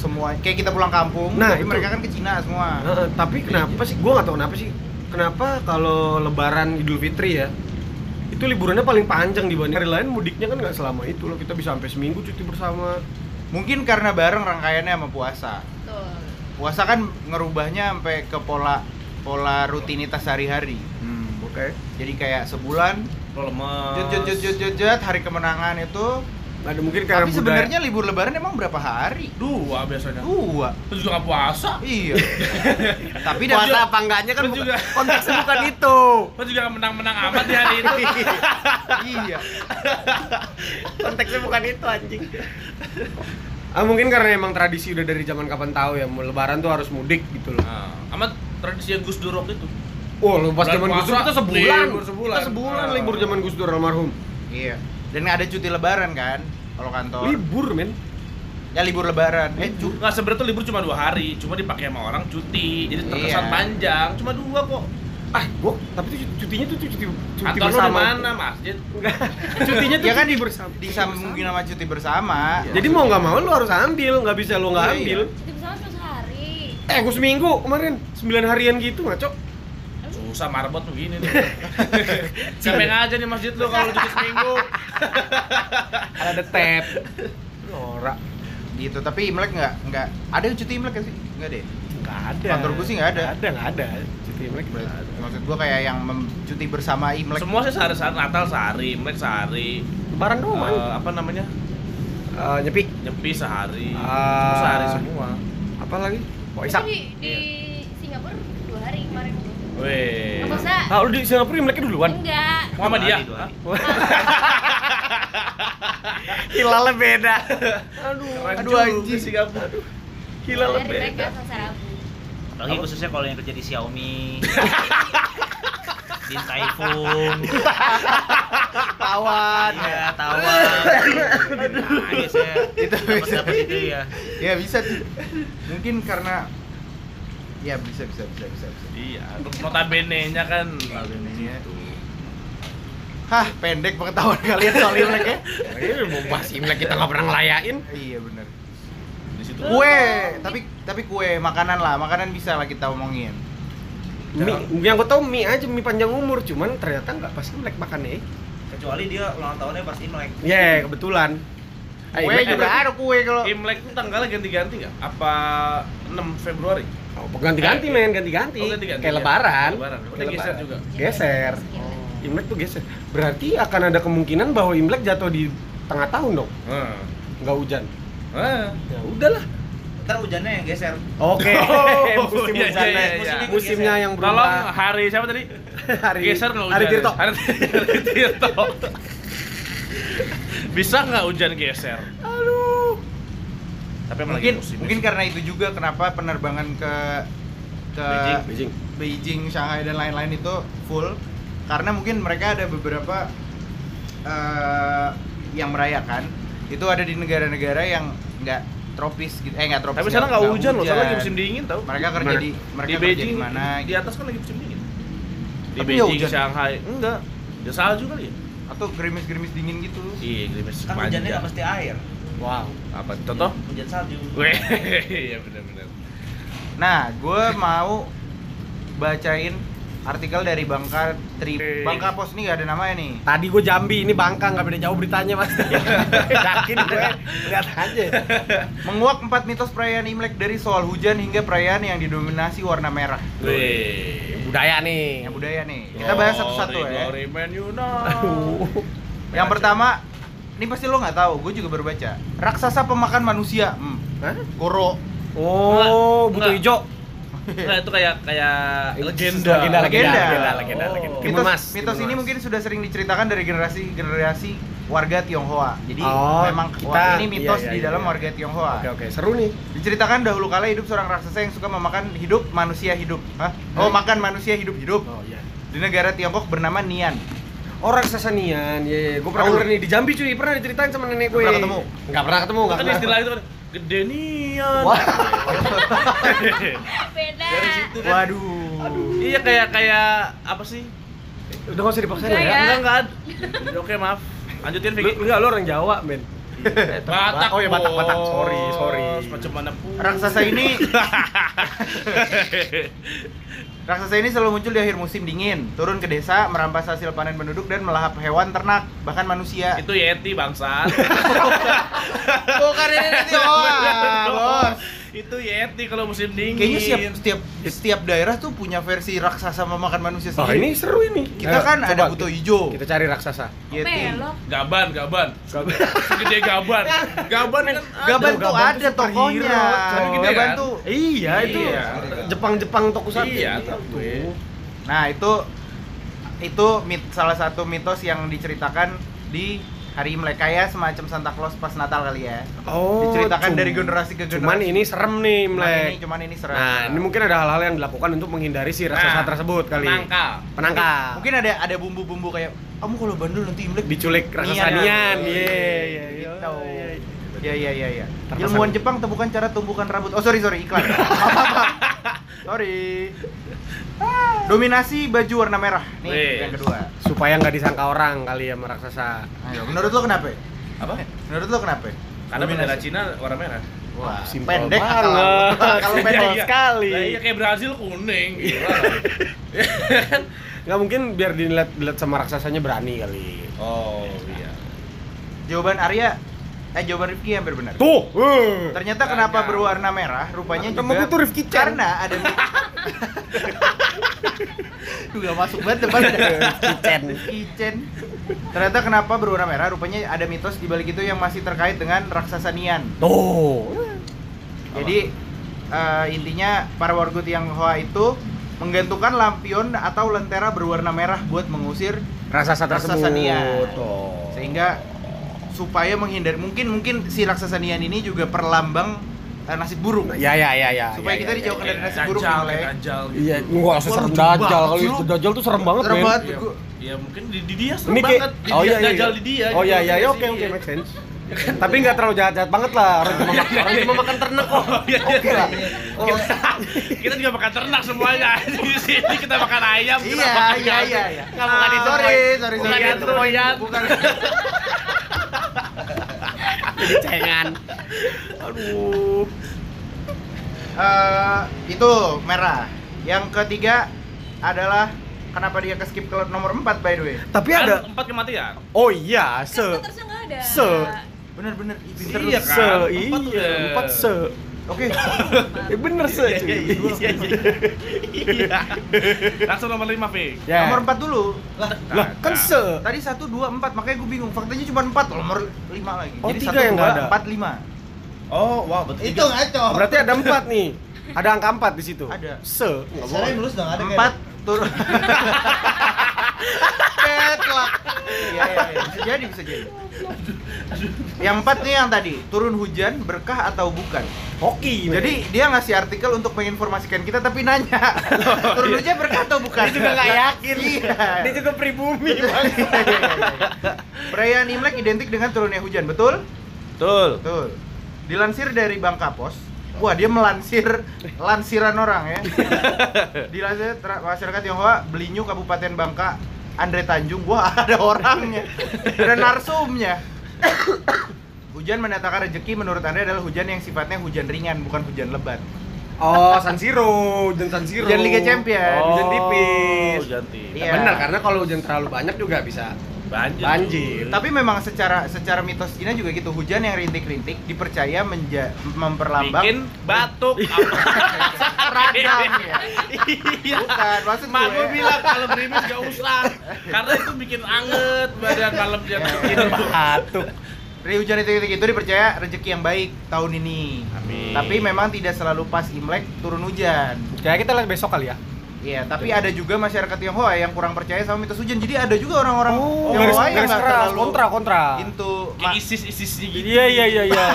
[SPEAKER 4] semua kayak kita pulang kampung
[SPEAKER 3] Nah,
[SPEAKER 4] tapi
[SPEAKER 3] itu.
[SPEAKER 4] mereka kan ke Cina semua.
[SPEAKER 3] Heeh, tapi kenapa sih? Gue nggak tahu kenapa sih. Kenapa kalau Lebaran Idul Fitri ya itu liburannya paling panjang dibanding hari lain mudiknya kan nggak selama itu loh kita bisa sampai seminggu cuti bersama
[SPEAKER 4] Mungkin karena bareng rangkaiannya sama puasa.
[SPEAKER 5] Betul.
[SPEAKER 4] Puasa kan ngerubahnya sampai ke pola pola rutinitas sehari-hari.
[SPEAKER 3] oke
[SPEAKER 4] Hmm. Jadi kayak sebulan
[SPEAKER 2] Lo
[SPEAKER 3] Eh,
[SPEAKER 4] jut
[SPEAKER 2] lemes.
[SPEAKER 4] jut jut jut jut jut hari kemenangan itu
[SPEAKER 3] Ada mungkin karena
[SPEAKER 4] Tapi
[SPEAKER 3] budaya.
[SPEAKER 4] sebenarnya libur lebaran emang berapa hari?
[SPEAKER 2] Dua biasanya.
[SPEAKER 4] Dua.
[SPEAKER 2] Terus juga nggak puasa.
[SPEAKER 3] [LAUGHS]
[SPEAKER 4] Iya. Tapi dan
[SPEAKER 3] puasa apa enggaknya kan
[SPEAKER 2] Lu
[SPEAKER 3] bukan,
[SPEAKER 2] juga.
[SPEAKER 3] [LAUGHS] konteksnya bukan itu.
[SPEAKER 2] Terus juga nggak menang-menang amat di hari itu.
[SPEAKER 4] iya.
[SPEAKER 3] konteksnya bukan itu anjing. Ah mungkin karena emang tradisi udah dari zaman kapan tahu ya, mau lebaran tuh harus mudik gitu loh.
[SPEAKER 2] Nah, [LAUGHS] amat tradisi Gus Durok itu.
[SPEAKER 3] Oh, lu pas
[SPEAKER 2] Bulan
[SPEAKER 3] zaman Gus Dur
[SPEAKER 2] puasa,
[SPEAKER 3] kita sebulan.
[SPEAKER 2] libur sebulan.
[SPEAKER 3] Kita sebulan
[SPEAKER 2] Ah.
[SPEAKER 3] libur zaman Gus Dur almarhum.
[SPEAKER 4] Iya. Dan ada cuti lebaran kan kalau kantor.
[SPEAKER 3] Libur, men.
[SPEAKER 4] Ya libur lebaran.
[SPEAKER 3] Iya.
[SPEAKER 4] Eh, cu-
[SPEAKER 2] Nggak sebenarnya tuh libur cuma dua hari, cuma dipakai sama orang cuti, jadi terkesan
[SPEAKER 4] Iya.
[SPEAKER 2] panjang. Cuma dua kok.
[SPEAKER 3] Ah, gua tapi tuh cutinya tuh cuti cuti
[SPEAKER 2] Kantor lu di mana masjid?
[SPEAKER 3] [LAUGHS] Cutinya tuh
[SPEAKER 4] Ya kan
[SPEAKER 3] cuti bersama.
[SPEAKER 4] disambungin sama cuti bersama.
[SPEAKER 3] Iya.
[SPEAKER 4] Gitu.
[SPEAKER 3] Jadi mau nggak mau lu harus ambil, nggak bisa lu nggak
[SPEAKER 4] Iya,
[SPEAKER 3] ambil.
[SPEAKER 5] Cuti bersama cuma sehari.
[SPEAKER 3] Eh, gua seminggu kemarin 9 harian gitu ngaco.
[SPEAKER 2] Susah marbot begini nih. [LAUGHS] Siapa yang aja nih masjid lu kalau lu cuti [LAUGHS] seminggu?
[SPEAKER 3] Ada tab. Ora.
[SPEAKER 4] gitu. Tapi Imlek nggak nggak ada cuti Imlek nggak sih? Nggak deh.
[SPEAKER 3] Nggak ada.
[SPEAKER 4] Kantor gua sih nggak ada.
[SPEAKER 3] Nggak ada, nggak ada. Cuti Imlek nggak
[SPEAKER 4] Berarti-
[SPEAKER 3] ada.
[SPEAKER 4] Maksud gua kayak yang mem- cuti bersama Imlek. [LAUGHS]
[SPEAKER 2] Semua sih sehari sehari Natal sehari, Imlek sehari,
[SPEAKER 3] Lebaran doang.
[SPEAKER 2] eh, apa namanya?
[SPEAKER 3] Eh, nyepi.
[SPEAKER 2] Nyepi sehari.
[SPEAKER 3] Ah.
[SPEAKER 2] sehari semua.
[SPEAKER 3] Apa lagi?
[SPEAKER 5] Itu
[SPEAKER 3] Waisak.
[SPEAKER 5] di, di Singapura dua hari kemarin dulu.
[SPEAKER 2] Weh.
[SPEAKER 5] Apa usah?
[SPEAKER 3] Ah, lu di Singapura Imleknya duluan.
[SPEAKER 5] Enggak.
[SPEAKER 2] Muhammadiyah.
[SPEAKER 1] Dua hari,
[SPEAKER 3] Hilalnya beda.
[SPEAKER 2] Aduh anjing Singapura. Gila
[SPEAKER 5] Dari
[SPEAKER 2] lebih.
[SPEAKER 5] mereka Selasa Rabu.
[SPEAKER 1] Apalagi khususnya kalau yang kerja di
[SPEAKER 3] [LAUGHS]
[SPEAKER 1] Xiaomi. di Taifun.
[SPEAKER 3] [LAUGHS]
[SPEAKER 4] Tawan.
[SPEAKER 1] Iya, tawa. Nangis ya.
[SPEAKER 4] Itu
[SPEAKER 1] Dapat
[SPEAKER 4] bisa.
[SPEAKER 1] dapat itu ya.
[SPEAKER 4] Ya bisa. tuh. Mungkin karena ya bisa bisa bisa bisa bisa.
[SPEAKER 2] Iya, notabene nya kan
[SPEAKER 4] Notabene-nya. Hah, pendek pengetahuan kalian soal Imlek ya?
[SPEAKER 2] Iya,
[SPEAKER 3] Ini [LAUGHS] mau bahas Imlek kita nggak pernah ngelayain.
[SPEAKER 4] Iya bener
[SPEAKER 2] di situ.
[SPEAKER 4] Kue, tapi tapi kue makanan lah, makanan bisa lah kita omongin.
[SPEAKER 3] Mie, yang gue tau mie aja mie panjang umur, cuman ternyata nggak pas Imlek makannya.
[SPEAKER 1] Kecuali dia ulang tahunnya pas Imlek.
[SPEAKER 3] Ya, kebetulan.
[SPEAKER 2] Iya,
[SPEAKER 3] Eh,
[SPEAKER 4] Kue
[SPEAKER 3] Imlek
[SPEAKER 4] juga
[SPEAKER 3] ada.
[SPEAKER 4] ada kue kalau
[SPEAKER 2] Imlek itu tanggalnya ganti-ganti nggak? Apa 6 Februari?
[SPEAKER 3] Oh, ganti-ganti men, ganti-ganti.
[SPEAKER 2] Oh, ganti-ganti,
[SPEAKER 3] Kayak
[SPEAKER 2] ya.
[SPEAKER 3] lebaran.
[SPEAKER 2] Lebaran. Oh,
[SPEAKER 3] Kayak
[SPEAKER 2] geser juga. Oh.
[SPEAKER 3] Geser.
[SPEAKER 5] Sekilas.
[SPEAKER 3] Imlek tuh geser. Berarti akan ada kemungkinan bahwa Imlek jatuh di tengah tahun dong,
[SPEAKER 2] Heeh.
[SPEAKER 3] nggak hujan.
[SPEAKER 2] Heeh.
[SPEAKER 3] Ya udahlah.
[SPEAKER 1] Ntar hujannya
[SPEAKER 2] ya,
[SPEAKER 1] yang geser.
[SPEAKER 3] Oke.
[SPEAKER 2] [LAUGHS] Oh,
[SPEAKER 3] [LAUGHS] Musim
[SPEAKER 2] iya,
[SPEAKER 3] hujan.
[SPEAKER 2] iya,
[SPEAKER 3] Musim-
[SPEAKER 2] iya.
[SPEAKER 3] Musimnya yang
[SPEAKER 2] Tolong
[SPEAKER 3] berubah.
[SPEAKER 2] hari siapa tadi?
[SPEAKER 3] hari
[SPEAKER 2] Geser nggak hujan? ya?
[SPEAKER 3] Hari Tirto.
[SPEAKER 2] Hari hari Tirto. Bisa nggak hujan geser?
[SPEAKER 3] Aduh.
[SPEAKER 2] Tapi emang lagi
[SPEAKER 4] mungkin
[SPEAKER 2] musim
[SPEAKER 4] mungkin
[SPEAKER 2] ya.
[SPEAKER 4] karena itu juga kenapa penerbangan ke ke
[SPEAKER 2] Beijing.
[SPEAKER 3] Beijing.
[SPEAKER 4] Beijing, Shanghai dan lain-lain itu full karena mungkin mereka ada beberapa eh, yang merayakan itu ada di negara-negara yang nggak tropis gitu eh nggak tropis
[SPEAKER 2] Tapi sana nggak hujan loh, sana lagi musim dingin tau.
[SPEAKER 4] mereka kerja
[SPEAKER 3] Mana?
[SPEAKER 4] di mereka
[SPEAKER 2] di
[SPEAKER 4] kerja
[SPEAKER 2] Beijing
[SPEAKER 4] di mana gitu.
[SPEAKER 2] di atas kan lagi musim dingin. Di
[SPEAKER 4] Tapi ya
[SPEAKER 2] Beijing,
[SPEAKER 4] hujan.
[SPEAKER 2] Shanghai, enggak. Ya salju kali ya?
[SPEAKER 4] atau gerimis-gerimis dingin gitu
[SPEAKER 2] Iya, gerimis
[SPEAKER 1] Kan hujannya
[SPEAKER 2] panjang.
[SPEAKER 1] nggak mesti air.
[SPEAKER 3] Wow.
[SPEAKER 2] Apa contoh?
[SPEAKER 1] Hujan salju.
[SPEAKER 2] Weh, [LAUGHS] iya benar-benar.
[SPEAKER 4] nah gue mau bacain artikel dari Bangka Tri Bangka Pos ini gak ada namanya nih
[SPEAKER 3] Tadi gue Jambi, ini Bangka nggak beda jauh beritanya pasti. [LAUGHS] Yakin gue, lihat aja.
[SPEAKER 4] Menguak empat mitos perayaan Imlek dari soal hujan hingga perayaan yang didominasi warna merah.
[SPEAKER 2] Weh.
[SPEAKER 3] Budaya nih.
[SPEAKER 4] Yang budaya nih. Kita bahas satu-satu
[SPEAKER 2] Oh, Glory,
[SPEAKER 4] ya.
[SPEAKER 2] Glory Man
[SPEAKER 3] Aduh.
[SPEAKER 4] Yang pertama, ini pasti lo nggak tahu, gue juga baru baca. Raksasa pemakan manusia. Hmm.
[SPEAKER 3] Hah?
[SPEAKER 2] [LAUGHS]
[SPEAKER 4] Goro.
[SPEAKER 3] Oh,
[SPEAKER 2] Enggak,
[SPEAKER 3] butuh
[SPEAKER 2] enggak.
[SPEAKER 3] hijau.
[SPEAKER 2] Nah, itu kayak kayak legenda.
[SPEAKER 3] Legenda, legenda,
[SPEAKER 4] Legenda.
[SPEAKER 3] legenda, legenda, legenda.
[SPEAKER 1] Oh.
[SPEAKER 3] Timun
[SPEAKER 4] Mitos,
[SPEAKER 3] mas,
[SPEAKER 4] mitos
[SPEAKER 3] timun
[SPEAKER 4] ini
[SPEAKER 3] mas.
[SPEAKER 4] mungkin sudah sering diceritakan dari generasi-generasi warga Tionghoa. Jadi
[SPEAKER 3] Oh,
[SPEAKER 4] memang
[SPEAKER 3] kita-
[SPEAKER 4] wah, ini
[SPEAKER 3] iya,
[SPEAKER 4] mitos
[SPEAKER 3] iya,
[SPEAKER 4] di
[SPEAKER 3] iya,
[SPEAKER 4] dalam
[SPEAKER 3] iya.
[SPEAKER 4] warga Tionghoa.
[SPEAKER 3] Oke, oke, seru nih.
[SPEAKER 4] Diceritakan dahulu kala hidup seorang raksasa yang suka memakan hidup manusia hidup. Hah?
[SPEAKER 3] Hah?
[SPEAKER 4] Oh, makan manusia hidup-hidup
[SPEAKER 3] Oh iya.
[SPEAKER 4] di negara Tiongkok bernama Nian.
[SPEAKER 3] Orang sasanian, ya, gue pernah
[SPEAKER 4] Tahu.
[SPEAKER 3] denger nih di Jambi cuy, pernah diceritain sama nenek gue.
[SPEAKER 4] Pernah ketemu?
[SPEAKER 3] Enggak pernah ketemu, enggak
[SPEAKER 2] Kan
[SPEAKER 3] pernah.
[SPEAKER 2] istilah itu kan gede nian.
[SPEAKER 3] Wah.
[SPEAKER 5] [LAUGHS] Beda.
[SPEAKER 2] Dari situ kan.
[SPEAKER 4] Waduh.
[SPEAKER 2] Iya kayak kayak apa sih?
[SPEAKER 3] Udah enggak usah dipaksain
[SPEAKER 5] Enggak
[SPEAKER 3] ya.
[SPEAKER 5] ya.
[SPEAKER 2] Enggak enggak. ada. Oke, maaf. Lanjutin
[SPEAKER 3] Lu,
[SPEAKER 2] Vicky.
[SPEAKER 3] enggak, lu orang Jawa, men.
[SPEAKER 2] Batak.
[SPEAKER 3] Oh iya, Batak, Batak.
[SPEAKER 2] bos.
[SPEAKER 3] Sorry, sorry.
[SPEAKER 2] Macam mana pun.
[SPEAKER 4] Raksasa ini Raksasa ini selalu muncul di akhir musim dingin, turun ke desa, merampas hasil panen penduduk dan melahap hewan ternak, bahkan manusia. [LAUGHS]
[SPEAKER 2] itu Yeti
[SPEAKER 3] [LAUGHS]
[SPEAKER 2] bangsa.
[SPEAKER 4] bukan kan ini oh, ah,
[SPEAKER 3] Ah,
[SPEAKER 2] Itu Yeti. spaghetti kalau musim dingin.
[SPEAKER 4] Kayaknya setiap setiap setiap daerah tuh punya versi raksasa memakan manusia
[SPEAKER 3] Oh ini
[SPEAKER 4] sendiri.
[SPEAKER 3] seru ini.
[SPEAKER 4] Kita
[SPEAKER 3] Ayo,
[SPEAKER 4] kan
[SPEAKER 3] coba
[SPEAKER 4] ada buto
[SPEAKER 3] kita-
[SPEAKER 4] hijau, Gitu.
[SPEAKER 3] Kita cari raksasa.
[SPEAKER 4] Yeti.
[SPEAKER 5] Melok. Kan
[SPEAKER 2] Gaban, gaban. Segede gaban. Gaban kan
[SPEAKER 4] Gaban tuh ada
[SPEAKER 3] superhero,
[SPEAKER 4] tokonya.
[SPEAKER 2] coy. Gitu
[SPEAKER 4] Gaban
[SPEAKER 2] kan?
[SPEAKER 4] tuh.
[SPEAKER 3] Iya itu.
[SPEAKER 2] Iya.
[SPEAKER 3] Jepang-Jepang tokusatsu.
[SPEAKER 2] Iya, tau gue.
[SPEAKER 4] Nah, itu itu mit, salah satu mitos yang diceritakan di hari Imlek kayak semacam Santa Claus pas Natal kali ya.
[SPEAKER 3] Oh.
[SPEAKER 4] Diceritakan
[SPEAKER 3] cum-
[SPEAKER 4] dari generasi ke
[SPEAKER 3] Cuman
[SPEAKER 4] generasi.
[SPEAKER 3] ini serem nih
[SPEAKER 4] Cuman
[SPEAKER 3] Imlek.
[SPEAKER 4] ini cuman ini serem.
[SPEAKER 3] Nah, ini mungkin ada hal-hal yang dilakukan untuk menghindari si raksasa
[SPEAKER 2] Nah,
[SPEAKER 3] tersebut kali.
[SPEAKER 2] Penangkal.
[SPEAKER 3] Penangkal.
[SPEAKER 4] Mungkin ada ada bumbu-bumbu kayak kamu kalau bandel nanti Imlek
[SPEAKER 3] diculik raksasa
[SPEAKER 4] Nian.
[SPEAKER 3] nian. Iya, iya, iya.
[SPEAKER 4] Gitu. Ya ya ya ya.
[SPEAKER 3] Terpasang.
[SPEAKER 4] Ilmuwan Jepang temukan cara tumbuhkan rambut. Oh sorry sorry
[SPEAKER 3] [LAUGHS]
[SPEAKER 4] iklan. Maaf, maaf, maaf. sorry.
[SPEAKER 3] Ah.
[SPEAKER 4] Dominasi baju warna merah. Nih
[SPEAKER 2] Wih.
[SPEAKER 4] yang kedua.
[SPEAKER 3] Supaya nggak disangka orang kali ya sama raksasa.
[SPEAKER 4] Ayo, menurut lo kenapa?
[SPEAKER 2] Apa?
[SPEAKER 4] Menurut lo kenapa?
[SPEAKER 2] Karena bendera Cina warna merah.
[SPEAKER 4] Wah,
[SPEAKER 3] Simpel
[SPEAKER 4] pendek
[SPEAKER 3] banget. [LAUGHS] Iya,
[SPEAKER 4] akal. Kalau
[SPEAKER 3] Simpel
[SPEAKER 4] pendek
[SPEAKER 3] Eh, sekali. Iya.
[SPEAKER 2] Lah iya kayak Brazil kuning. gitu gila.
[SPEAKER 3] Nggak mungkin biar dilihat dilihat sama raksasanya berani kali.
[SPEAKER 2] oh iya.
[SPEAKER 4] jawaban Arya eh jawaban Rifki hampir benar.
[SPEAKER 3] Tuh. [LAUGHS] eh.
[SPEAKER 4] Ternyata kenapa
[SPEAKER 2] Ternyata.
[SPEAKER 4] berwarna merah? Rupanya
[SPEAKER 3] Nama
[SPEAKER 4] juga
[SPEAKER 3] gua tuh Rifki Chan.
[SPEAKER 4] karena
[SPEAKER 3] [LAUGHS]
[SPEAKER 4] ada juga masuk banget
[SPEAKER 3] [LAUGHS]
[SPEAKER 4] depan ada Rifki Chan. Ternyata kenapa berwarna merah? Rupanya ada mitos di balik itu yang masih terkait dengan raksasa Nian.
[SPEAKER 3] Tuh.
[SPEAKER 4] Jadi eh, intinya para warga Tionghoa itu menggantungkan lampion atau lentera berwarna merah buat mengusir
[SPEAKER 3] Raksasa tersebut.
[SPEAKER 4] raksasa Nian.
[SPEAKER 3] Tuh.
[SPEAKER 4] Sehingga supaya menghindari mungkin mungkin si raksasa Nian ini juga perlambang eh, nasib buruk.
[SPEAKER 3] Ya ya ya ya.
[SPEAKER 4] Supaya
[SPEAKER 3] ya,
[SPEAKER 4] kita
[SPEAKER 3] ya,
[SPEAKER 4] dijauhkan
[SPEAKER 3] ya,
[SPEAKER 4] dari
[SPEAKER 3] ya.
[SPEAKER 4] nasi buruk
[SPEAKER 2] Dajjal,
[SPEAKER 4] oleh-
[SPEAKER 2] kayak Dajjal gitu.
[SPEAKER 3] Iya, enggak
[SPEAKER 4] Wah,
[SPEAKER 3] serem
[SPEAKER 4] lucu
[SPEAKER 3] dajal
[SPEAKER 4] banget
[SPEAKER 3] kali.
[SPEAKER 4] sih lu.
[SPEAKER 3] itu. Dajal tuh serem banget,
[SPEAKER 4] Serem
[SPEAKER 3] men.
[SPEAKER 4] banget.
[SPEAKER 2] Iya, [LAUGHS]
[SPEAKER 4] Gua-
[SPEAKER 2] ya mungkin di, di dia serem
[SPEAKER 3] Ini kayak
[SPEAKER 2] banget. Di
[SPEAKER 3] Oh
[SPEAKER 2] dia,
[SPEAKER 3] iya iya.
[SPEAKER 2] Dajjal di dia.
[SPEAKER 3] Oh iya
[SPEAKER 2] gitu.
[SPEAKER 3] iya,
[SPEAKER 2] Di
[SPEAKER 3] iya, oke
[SPEAKER 2] sini.
[SPEAKER 3] oke make [LAUGHS] sense. Tapi nggak terlalu jahat-jahat banget lah. Orang cuma makan, orang cuma makan ternak kok.
[SPEAKER 2] Oh, [LAUGHS] iya, iya.
[SPEAKER 3] Oke lah.
[SPEAKER 4] Oh,
[SPEAKER 2] Kita, kita juga makan ternak semuanya. Di sini kita makan ayam, kita
[SPEAKER 4] Iya,
[SPEAKER 2] makan
[SPEAKER 4] iya,
[SPEAKER 2] kambing.
[SPEAKER 4] iya, iya.
[SPEAKER 2] Nggak makan itu.
[SPEAKER 4] Sorry,
[SPEAKER 2] Moy.
[SPEAKER 4] sorry,
[SPEAKER 2] Bukan
[SPEAKER 4] sorry.
[SPEAKER 2] itu, Moyan.
[SPEAKER 4] Bukan.
[SPEAKER 3] Jadi cengan. Aduh.
[SPEAKER 4] Eh, itu merah. Yang ketiga adalah kenapa dia ke skip ke nomor 4 by the way.
[SPEAKER 3] Tapi
[SPEAKER 2] Kan
[SPEAKER 3] ada
[SPEAKER 2] empat kematian.
[SPEAKER 3] Oh iya,
[SPEAKER 5] Se.
[SPEAKER 3] se
[SPEAKER 2] Kan
[SPEAKER 5] terusnya nggak ada.
[SPEAKER 3] Se.
[SPEAKER 4] Bener-bener itu terus.
[SPEAKER 2] Iya, kan?
[SPEAKER 3] se
[SPEAKER 2] Empat
[SPEAKER 3] iya,
[SPEAKER 2] udah.
[SPEAKER 3] empat se.
[SPEAKER 4] Oke.
[SPEAKER 3] Eh bener se.
[SPEAKER 2] Iya,
[SPEAKER 3] cuy.
[SPEAKER 2] iya, iya, iya. Iya. Langsung nomor lima, Nah, Fik.
[SPEAKER 3] Ya.
[SPEAKER 4] Nomor 4 dulu. Lah,
[SPEAKER 3] Lah, kan se.
[SPEAKER 4] tadi 1 2 4 makanya gue bingung. Faktanya cuma 4, nomor 5 lagi.
[SPEAKER 3] Oh, tiga
[SPEAKER 4] satu,
[SPEAKER 3] yang
[SPEAKER 4] dua,
[SPEAKER 3] nggak ada.
[SPEAKER 4] Empat, lima.
[SPEAKER 2] Oh, wow, betul.
[SPEAKER 6] Itu
[SPEAKER 1] kan,
[SPEAKER 6] ngaco.
[SPEAKER 3] Berarti ada empat nih. Ada angka empat di situ.
[SPEAKER 4] Ada.
[SPEAKER 3] Se. Nggak
[SPEAKER 6] Sekarang yang lulus udah nggak ada kayak.
[SPEAKER 4] Empat turun. Ketlak. Iya, iya, iya. Bisa jadi, bisa jadi. Yang empat nih yang tadi, turun hujan berkah atau bukan?
[SPEAKER 3] Hoki. men.
[SPEAKER 4] Jadi dia ngasih artikel untuk menginformasikan kita tapi nanya.
[SPEAKER 3] [LAUGHS] Oh, iya.
[SPEAKER 4] Turun hujan berkah atau bukan?
[SPEAKER 3] Dia juga nggak yakin.
[SPEAKER 4] Iya.
[SPEAKER 3] Dia juga [LAUGHS] pribumi. Bang.
[SPEAKER 4] [LAUGHS] Perayaan Imlek identik dengan turunnya hujan, betul?
[SPEAKER 2] Betul.
[SPEAKER 4] Betul. Dilansir dari Bangka Pos. Wah, dia melansir lansiran orang ya. Dilansir tra- masyarakat Tionghoa Belinyu Kabupaten Bangka Andre Tanjung. Wah, ada orangnya. Ada narsumnya. Hujan mendatangkan rezeki menurut Anda adalah hujan yang sifatnya hujan ringan, bukan hujan lebat.
[SPEAKER 3] Oh, San Siro, hujan San Siro.
[SPEAKER 4] Hujan Liga Champion.
[SPEAKER 3] hujan tipis.
[SPEAKER 2] Oh, Janti.
[SPEAKER 4] Iya.
[SPEAKER 3] Benar, karena kalau hujan terlalu banyak juga bisa Iya.
[SPEAKER 2] Banjir.
[SPEAKER 3] banjir.
[SPEAKER 4] Tapi memang secara secara mitos Cina juga gitu, hujan yang rintik-rintik dipercaya menja- memperlambang
[SPEAKER 2] Bikin batuk. Apa?
[SPEAKER 4] radang ya. Bukan, maksud
[SPEAKER 2] Iya. Mak gue
[SPEAKER 4] gue-
[SPEAKER 2] bilang kalau gerimis gak usah Karena itu bikin anget badan malam
[SPEAKER 3] Ya,
[SPEAKER 2] dia
[SPEAKER 4] Iya.
[SPEAKER 2] bikin
[SPEAKER 3] batuk.
[SPEAKER 4] Dari hujan itu, itu, itu dipercaya rezeki yang baik tahun ini.
[SPEAKER 2] Amin.
[SPEAKER 4] Tapi memang tidak selalu pas Imlek turun hujan.
[SPEAKER 3] Ya kita lihat besok kali ya.
[SPEAKER 4] Iya, tapi ada juga masyarakat Tionghoa yang kurang percaya sama mitos hujan. Jadi ada juga orang-orang
[SPEAKER 3] Oh, garis,
[SPEAKER 4] Tionghoa yang
[SPEAKER 3] garis
[SPEAKER 4] Oh, iya, nggak
[SPEAKER 3] keras,
[SPEAKER 4] terlalu
[SPEAKER 3] kontra, kontra.
[SPEAKER 4] into
[SPEAKER 2] Kayak isis-isisnya gitu
[SPEAKER 3] Iya, iya, iya, iya.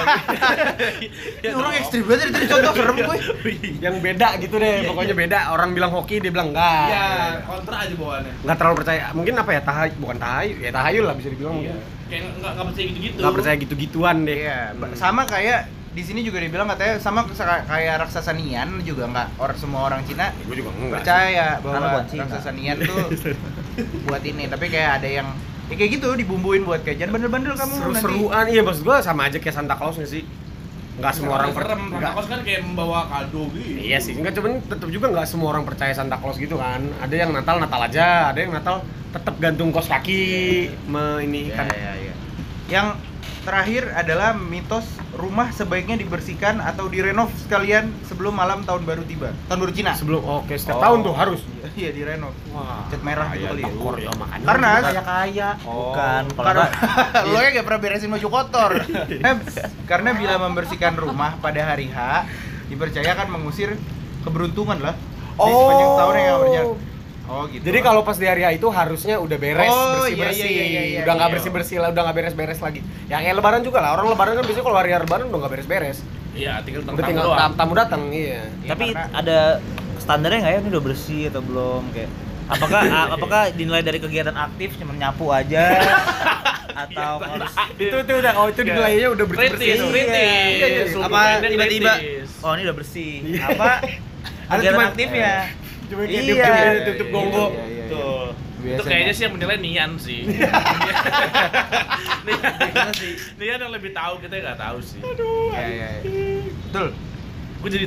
[SPEAKER 4] Ini orang ekstrim banget dari tadi contoh serem
[SPEAKER 3] [LAUGHS]
[SPEAKER 4] gue.
[SPEAKER 3] [LAUGHS] Yang beda gitu deh,
[SPEAKER 4] Iya,
[SPEAKER 3] pokoknya beda. Orang bilang hoki, dia bilang enggak.
[SPEAKER 2] Iya, kontra aja bawaannya
[SPEAKER 3] Nggak terlalu percaya. Mungkin apa ya? Tahay, bukan tahay, ya tahayul lah bisa dibilang. mungkin.
[SPEAKER 2] Iya Kayak nggak nggak percaya gitu-gitu
[SPEAKER 3] Nggak percaya gitu-gituan deh.
[SPEAKER 4] Iya, ba-
[SPEAKER 3] Hmm.
[SPEAKER 4] sama kayak di sini juga dibilang katanya sama sa- kayak raksasa Nian juga nggak orang semua orang Cina
[SPEAKER 3] Gue juga enggak.
[SPEAKER 4] percaya
[SPEAKER 6] Karena
[SPEAKER 4] bahwa
[SPEAKER 6] buat Cina.
[SPEAKER 4] raksasa Nian tuh buat ini tapi kayak ada yang ya kayak gitu dibumbuin buat kayak jangan bandel-bandel kamu nanti Iya,
[SPEAKER 3] Seru-seruan, iya maksud gua sama aja kayak Santa Claus nggak sih? Nggak semua orang per-
[SPEAKER 2] Serem, Santa
[SPEAKER 3] nggak-
[SPEAKER 2] Claus kan kayak membawa kado gitu
[SPEAKER 3] Iya sih, enggak cuman tetap juga nggak semua orang percaya Santa Claus gitu kan. Ada yang Natal Natal aja, ada yang Natal tetap gantung kos kaki me ini
[SPEAKER 4] Ya,
[SPEAKER 3] kan.
[SPEAKER 4] ya, ya. Yang terakhir adalah mitos rumah sebaiknya dibersihkan atau direnov sekalian sebelum malam tahun baru tiba. Tahun baru
[SPEAKER 3] Nah,
[SPEAKER 4] Cina.
[SPEAKER 3] Sebelum oke setiap
[SPEAKER 2] Oh.
[SPEAKER 3] tahun tuh harus.
[SPEAKER 4] Iya, direnov.
[SPEAKER 3] Wah.
[SPEAKER 4] Cat merah gitu kali ya.
[SPEAKER 3] tekor ya makanya.
[SPEAKER 4] Karena
[SPEAKER 1] kaya kaya
[SPEAKER 2] Oh.
[SPEAKER 3] Kan,
[SPEAKER 1] bukan kalau
[SPEAKER 4] Karena-
[SPEAKER 1] nggak-
[SPEAKER 4] [LAUGHS] lo
[SPEAKER 3] iya.
[SPEAKER 4] ya gak pernah beresin baju
[SPEAKER 3] [LAUGHS]
[SPEAKER 4] kotor. Eh, Karena bila membersihkan rumah pada hari H, dipercaya akan mengusir keberuntungan lah. Di sepanjang tahun yang akan berjalan. Oh gitu.
[SPEAKER 3] Oh. Jadi kalau pas di hari H itu harusnya udah beres,
[SPEAKER 4] Oh, iya,
[SPEAKER 3] bersih-bersih.
[SPEAKER 4] iya, iya, iya,
[SPEAKER 3] udah nggak
[SPEAKER 4] iya.
[SPEAKER 3] bersih-bersih lah, udah nggak beres-beres lagi. Ya kayak lebaran juga lah. Orang lebaran kan biasanya kalau hari lebaran udah nggak beres-beres.
[SPEAKER 2] Iya, tinggal
[SPEAKER 3] Udah
[SPEAKER 2] tentang
[SPEAKER 3] tinggal
[SPEAKER 2] doang.
[SPEAKER 3] tamu, tamu datang, iya.
[SPEAKER 4] Ya,
[SPEAKER 1] tapi
[SPEAKER 4] karena-
[SPEAKER 1] ada standarnya nggak ya ini udah bersih atau belum kayak apakah a- apakah dinilai dari kegiatan aktif cuma nyapu aja atau harus
[SPEAKER 3] Iya, itu itu udah kalau itu dinilainya udah
[SPEAKER 2] Kritis,
[SPEAKER 3] bersih-bersih.
[SPEAKER 1] Iya, iya.
[SPEAKER 2] kritis. Seluruh
[SPEAKER 1] apa
[SPEAKER 2] mainnya
[SPEAKER 1] tiba-tiba
[SPEAKER 2] kritis.
[SPEAKER 1] oh ini udah bersih
[SPEAKER 4] Iya.
[SPEAKER 1] apa kegiatan
[SPEAKER 3] cuman-
[SPEAKER 1] aktifnya
[SPEAKER 3] Cuma
[SPEAKER 1] Iya.
[SPEAKER 3] kayak tiup-tiup tiup-tiup
[SPEAKER 2] Iya,
[SPEAKER 3] gonggo.
[SPEAKER 4] ya? iya, iya, iya.
[SPEAKER 2] Tuh. Itu
[SPEAKER 4] Biasanya.
[SPEAKER 2] kayaknya sih yang menilai Nian sih.
[SPEAKER 4] [LAUGHS]
[SPEAKER 2] Nian, Nian yang lebih tahu kita nggak tahu sih.
[SPEAKER 4] Ya, ya, ya. Betul.
[SPEAKER 2] Gue jadi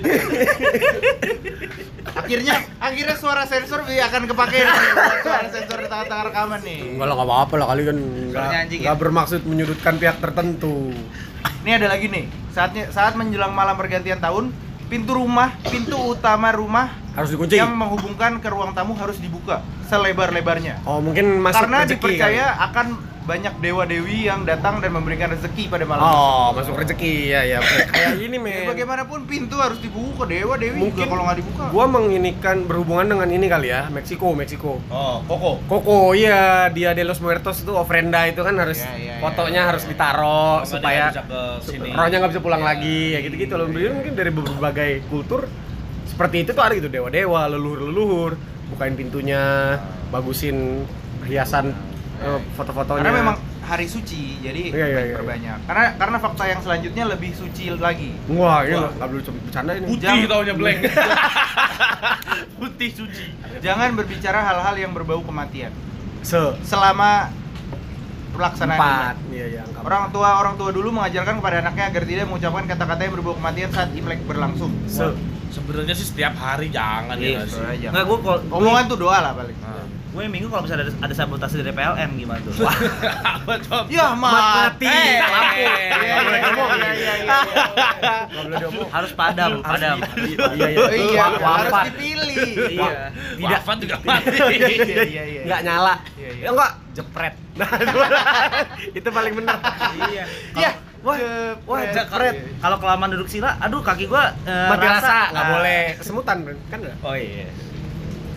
[SPEAKER 4] Akhirnya akhirnya suara sensor bi- akan
[SPEAKER 3] [LAUGHS]
[SPEAKER 4] kepake nih. suara sensor di tengah-tengah rekaman nih.
[SPEAKER 3] Enggak lah, nggak apa-apa lah kali kan nggak
[SPEAKER 4] Suaranya anjing ya?
[SPEAKER 3] nggak bermaksud menyudutkan pihak tertentu.
[SPEAKER 4] Ini ada lagi nih. Saatnya saat menjelang malam pergantian tahun, pintu rumah, pintu utama rumah
[SPEAKER 3] Harus dikunci.
[SPEAKER 4] yang menghubungkan ke ruang tamu harus dibuka selebar-lebarnya.
[SPEAKER 3] Oh, mungkin masuk
[SPEAKER 4] Karena
[SPEAKER 3] rezeki
[SPEAKER 4] dipercaya
[SPEAKER 3] kali.
[SPEAKER 4] akan banyak dewa-dewi yang datang dan memberikan rezeki pada malam.
[SPEAKER 3] Oh, masuk rezeki. Iya, iya. Kayak ini,
[SPEAKER 4] [LAUGHS] Ya,
[SPEAKER 3] men.
[SPEAKER 4] bagaimanapun pintu harus dibuka dewa-dewi
[SPEAKER 3] Mungkin
[SPEAKER 4] juga kalau nggak dibuka.
[SPEAKER 3] Gua menginikan berhubungan dengan ini kali ya, Meksiko, Meksiko.
[SPEAKER 4] Oh, koko.
[SPEAKER 3] Koko, iya, dia de los Muertos itu ofrenda itu kan harus
[SPEAKER 4] Iya, iya, iya.
[SPEAKER 3] fotonya harus ditaro
[SPEAKER 4] Oh,
[SPEAKER 3] supaya
[SPEAKER 2] ke
[SPEAKER 3] sup-
[SPEAKER 2] sini.
[SPEAKER 3] rohnya nggak bisa pulang lagi ya gitu-gitu loh. Mungkin dari berbagai kultur seperti itu tuh ada gitu dewa-dewa, leluhur-leluhur, bukain pintunya, bagusin hiasan eh, foto-fotonya.
[SPEAKER 4] Karena memang hari suci, jadi
[SPEAKER 3] Iya, iya,
[SPEAKER 4] baik
[SPEAKER 3] iya.
[SPEAKER 4] perbanyak. Karena karena fakta yang selanjutnya lebih suci lagi.
[SPEAKER 3] wah, ini
[SPEAKER 2] Wah.
[SPEAKER 3] nggak perlu bercanda ini.
[SPEAKER 2] Putih taunya black. Putih suci.
[SPEAKER 4] Jangan berbicara hal-hal yang berbau kematian
[SPEAKER 3] Se
[SPEAKER 4] selama pelaksanaan
[SPEAKER 3] empat,
[SPEAKER 4] Imlek.
[SPEAKER 3] iya iya. angka
[SPEAKER 4] Orang tua orang tua dulu mengajarkan kepada anaknya agar tidak mengucapkan kata-kata yang berbau kematian saat Imlek berlangsung.
[SPEAKER 3] empat. se
[SPEAKER 2] Sebenarnya sih setiap hari jangan
[SPEAKER 1] Iya,
[SPEAKER 2] ya nggak sih.
[SPEAKER 4] Sebenarnya jangan.
[SPEAKER 1] nggak gue kalau
[SPEAKER 4] Omongan tuh doa lah paling.
[SPEAKER 3] Ah.
[SPEAKER 1] gue minggu kalau misalnya ada, ada sabotase dari PLN gimana tuh Wah,
[SPEAKER 2] Apa [LAUGHS] coba?
[SPEAKER 4] Ya mati.
[SPEAKER 3] Eh,
[SPEAKER 4] Lampu.
[SPEAKER 3] eh,
[SPEAKER 4] Iya,
[SPEAKER 3] nggak boleh
[SPEAKER 4] iya,
[SPEAKER 3] ngomong.
[SPEAKER 4] iya, iya, iya.
[SPEAKER 3] Nggak boleh diomong.
[SPEAKER 1] harus padam padam
[SPEAKER 3] Iya iya.
[SPEAKER 4] Oh Iya,
[SPEAKER 3] Wa-
[SPEAKER 4] harus
[SPEAKER 3] wafat.
[SPEAKER 4] dipilih.
[SPEAKER 1] iya
[SPEAKER 2] Tidak Wafat juga mati.
[SPEAKER 4] [LAUGHS] Iya, iya, iya.
[SPEAKER 3] Nggak nyala.
[SPEAKER 4] Iya, iya.
[SPEAKER 3] Ya enggak jepret. Nah, [LAUGHS] itu paling benar.
[SPEAKER 1] iya
[SPEAKER 4] Iya.
[SPEAKER 1] Wah, wah jepret. Kalau kelamaan duduk sila, aduh kaki gua eh,
[SPEAKER 3] Mati rasa Nah. nggak
[SPEAKER 1] Ah.
[SPEAKER 3] boleh semutan kan nggak?
[SPEAKER 1] Oh iya.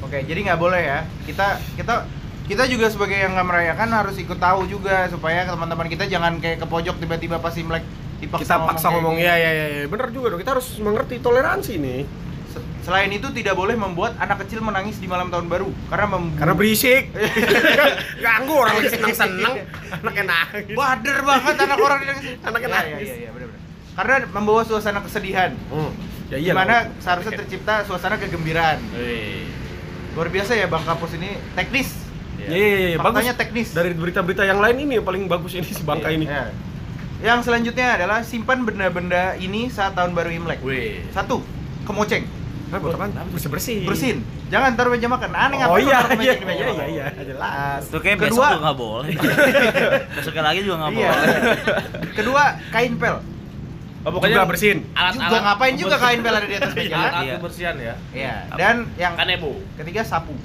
[SPEAKER 4] Oke, jadi nggak boleh ya. Kita kita kita juga sebagai yang nggak merayakan harus ikut tahu juga supaya teman-teman kita jangan kayak ke pojok tiba-tiba pas Imlek
[SPEAKER 3] Kita
[SPEAKER 4] dipaksa
[SPEAKER 3] paksa
[SPEAKER 4] kayak
[SPEAKER 3] ngomong
[SPEAKER 4] gitu.
[SPEAKER 3] ya ya ya ya. bener juga dong. Kita harus mengerti toleransi nih.
[SPEAKER 4] Se- Selain itu tidak boleh membuat anak kecil menangis di malam tahun baru karena mem
[SPEAKER 3] Karena [LAUGHS] berisik. Ganggu orang lagi senang-senang. Anaknya nangis.
[SPEAKER 4] bader banget anak orang
[SPEAKER 3] [LAUGHS]
[SPEAKER 4] yang
[SPEAKER 3] Anaknya
[SPEAKER 4] Ya, ya,
[SPEAKER 3] nangis.
[SPEAKER 4] ya, ya, benar-benar. Karena membawa suasana kesedihan.
[SPEAKER 3] Hmm. Ya
[SPEAKER 4] Di
[SPEAKER 3] iya.
[SPEAKER 4] Dimana seharusnya tercipta suasana kegembiraan.
[SPEAKER 2] Wih.
[SPEAKER 4] Luar biasa ya Bang Kapus ini teknis.
[SPEAKER 3] Iya iya iya, bagus.
[SPEAKER 4] Faktanya teknis.
[SPEAKER 3] Dari berita-berita yang lain ini yang paling bagus ini si Bangka ini.
[SPEAKER 4] Ya. Yang selanjutnya adalah simpan benda-benda ini saat tahun baru Imlek.
[SPEAKER 2] Wih.
[SPEAKER 4] Satu, kemoceng.
[SPEAKER 3] Nah, buat apaan? Bersih-bersih.
[SPEAKER 4] Bersihin. Jangan taruh meja makan. Aneh
[SPEAKER 3] Iya. Oh
[SPEAKER 4] ngapain lu
[SPEAKER 3] iya
[SPEAKER 4] taruh
[SPEAKER 3] iya
[SPEAKER 4] kemoceng di meja
[SPEAKER 3] iya
[SPEAKER 4] makan?
[SPEAKER 3] iya jelas.
[SPEAKER 1] Itu kayak besok
[SPEAKER 4] Kedua.
[SPEAKER 1] juga nggak boleh.
[SPEAKER 3] [LAUGHS]
[SPEAKER 1] Besoknya lagi juga nggak
[SPEAKER 4] Iya.
[SPEAKER 1] boleh.
[SPEAKER 4] Kedua, kain pel.
[SPEAKER 2] Oh,
[SPEAKER 3] Juga bersihin.
[SPEAKER 4] juga ngapain juga kain pel ada di
[SPEAKER 2] [LAUGHS]
[SPEAKER 4] atas meja.
[SPEAKER 2] Alat-alat
[SPEAKER 1] Iya.
[SPEAKER 2] kebersihan ya.
[SPEAKER 4] Iya. Dan yang
[SPEAKER 2] Kan Ebu.
[SPEAKER 4] ketiga sapu.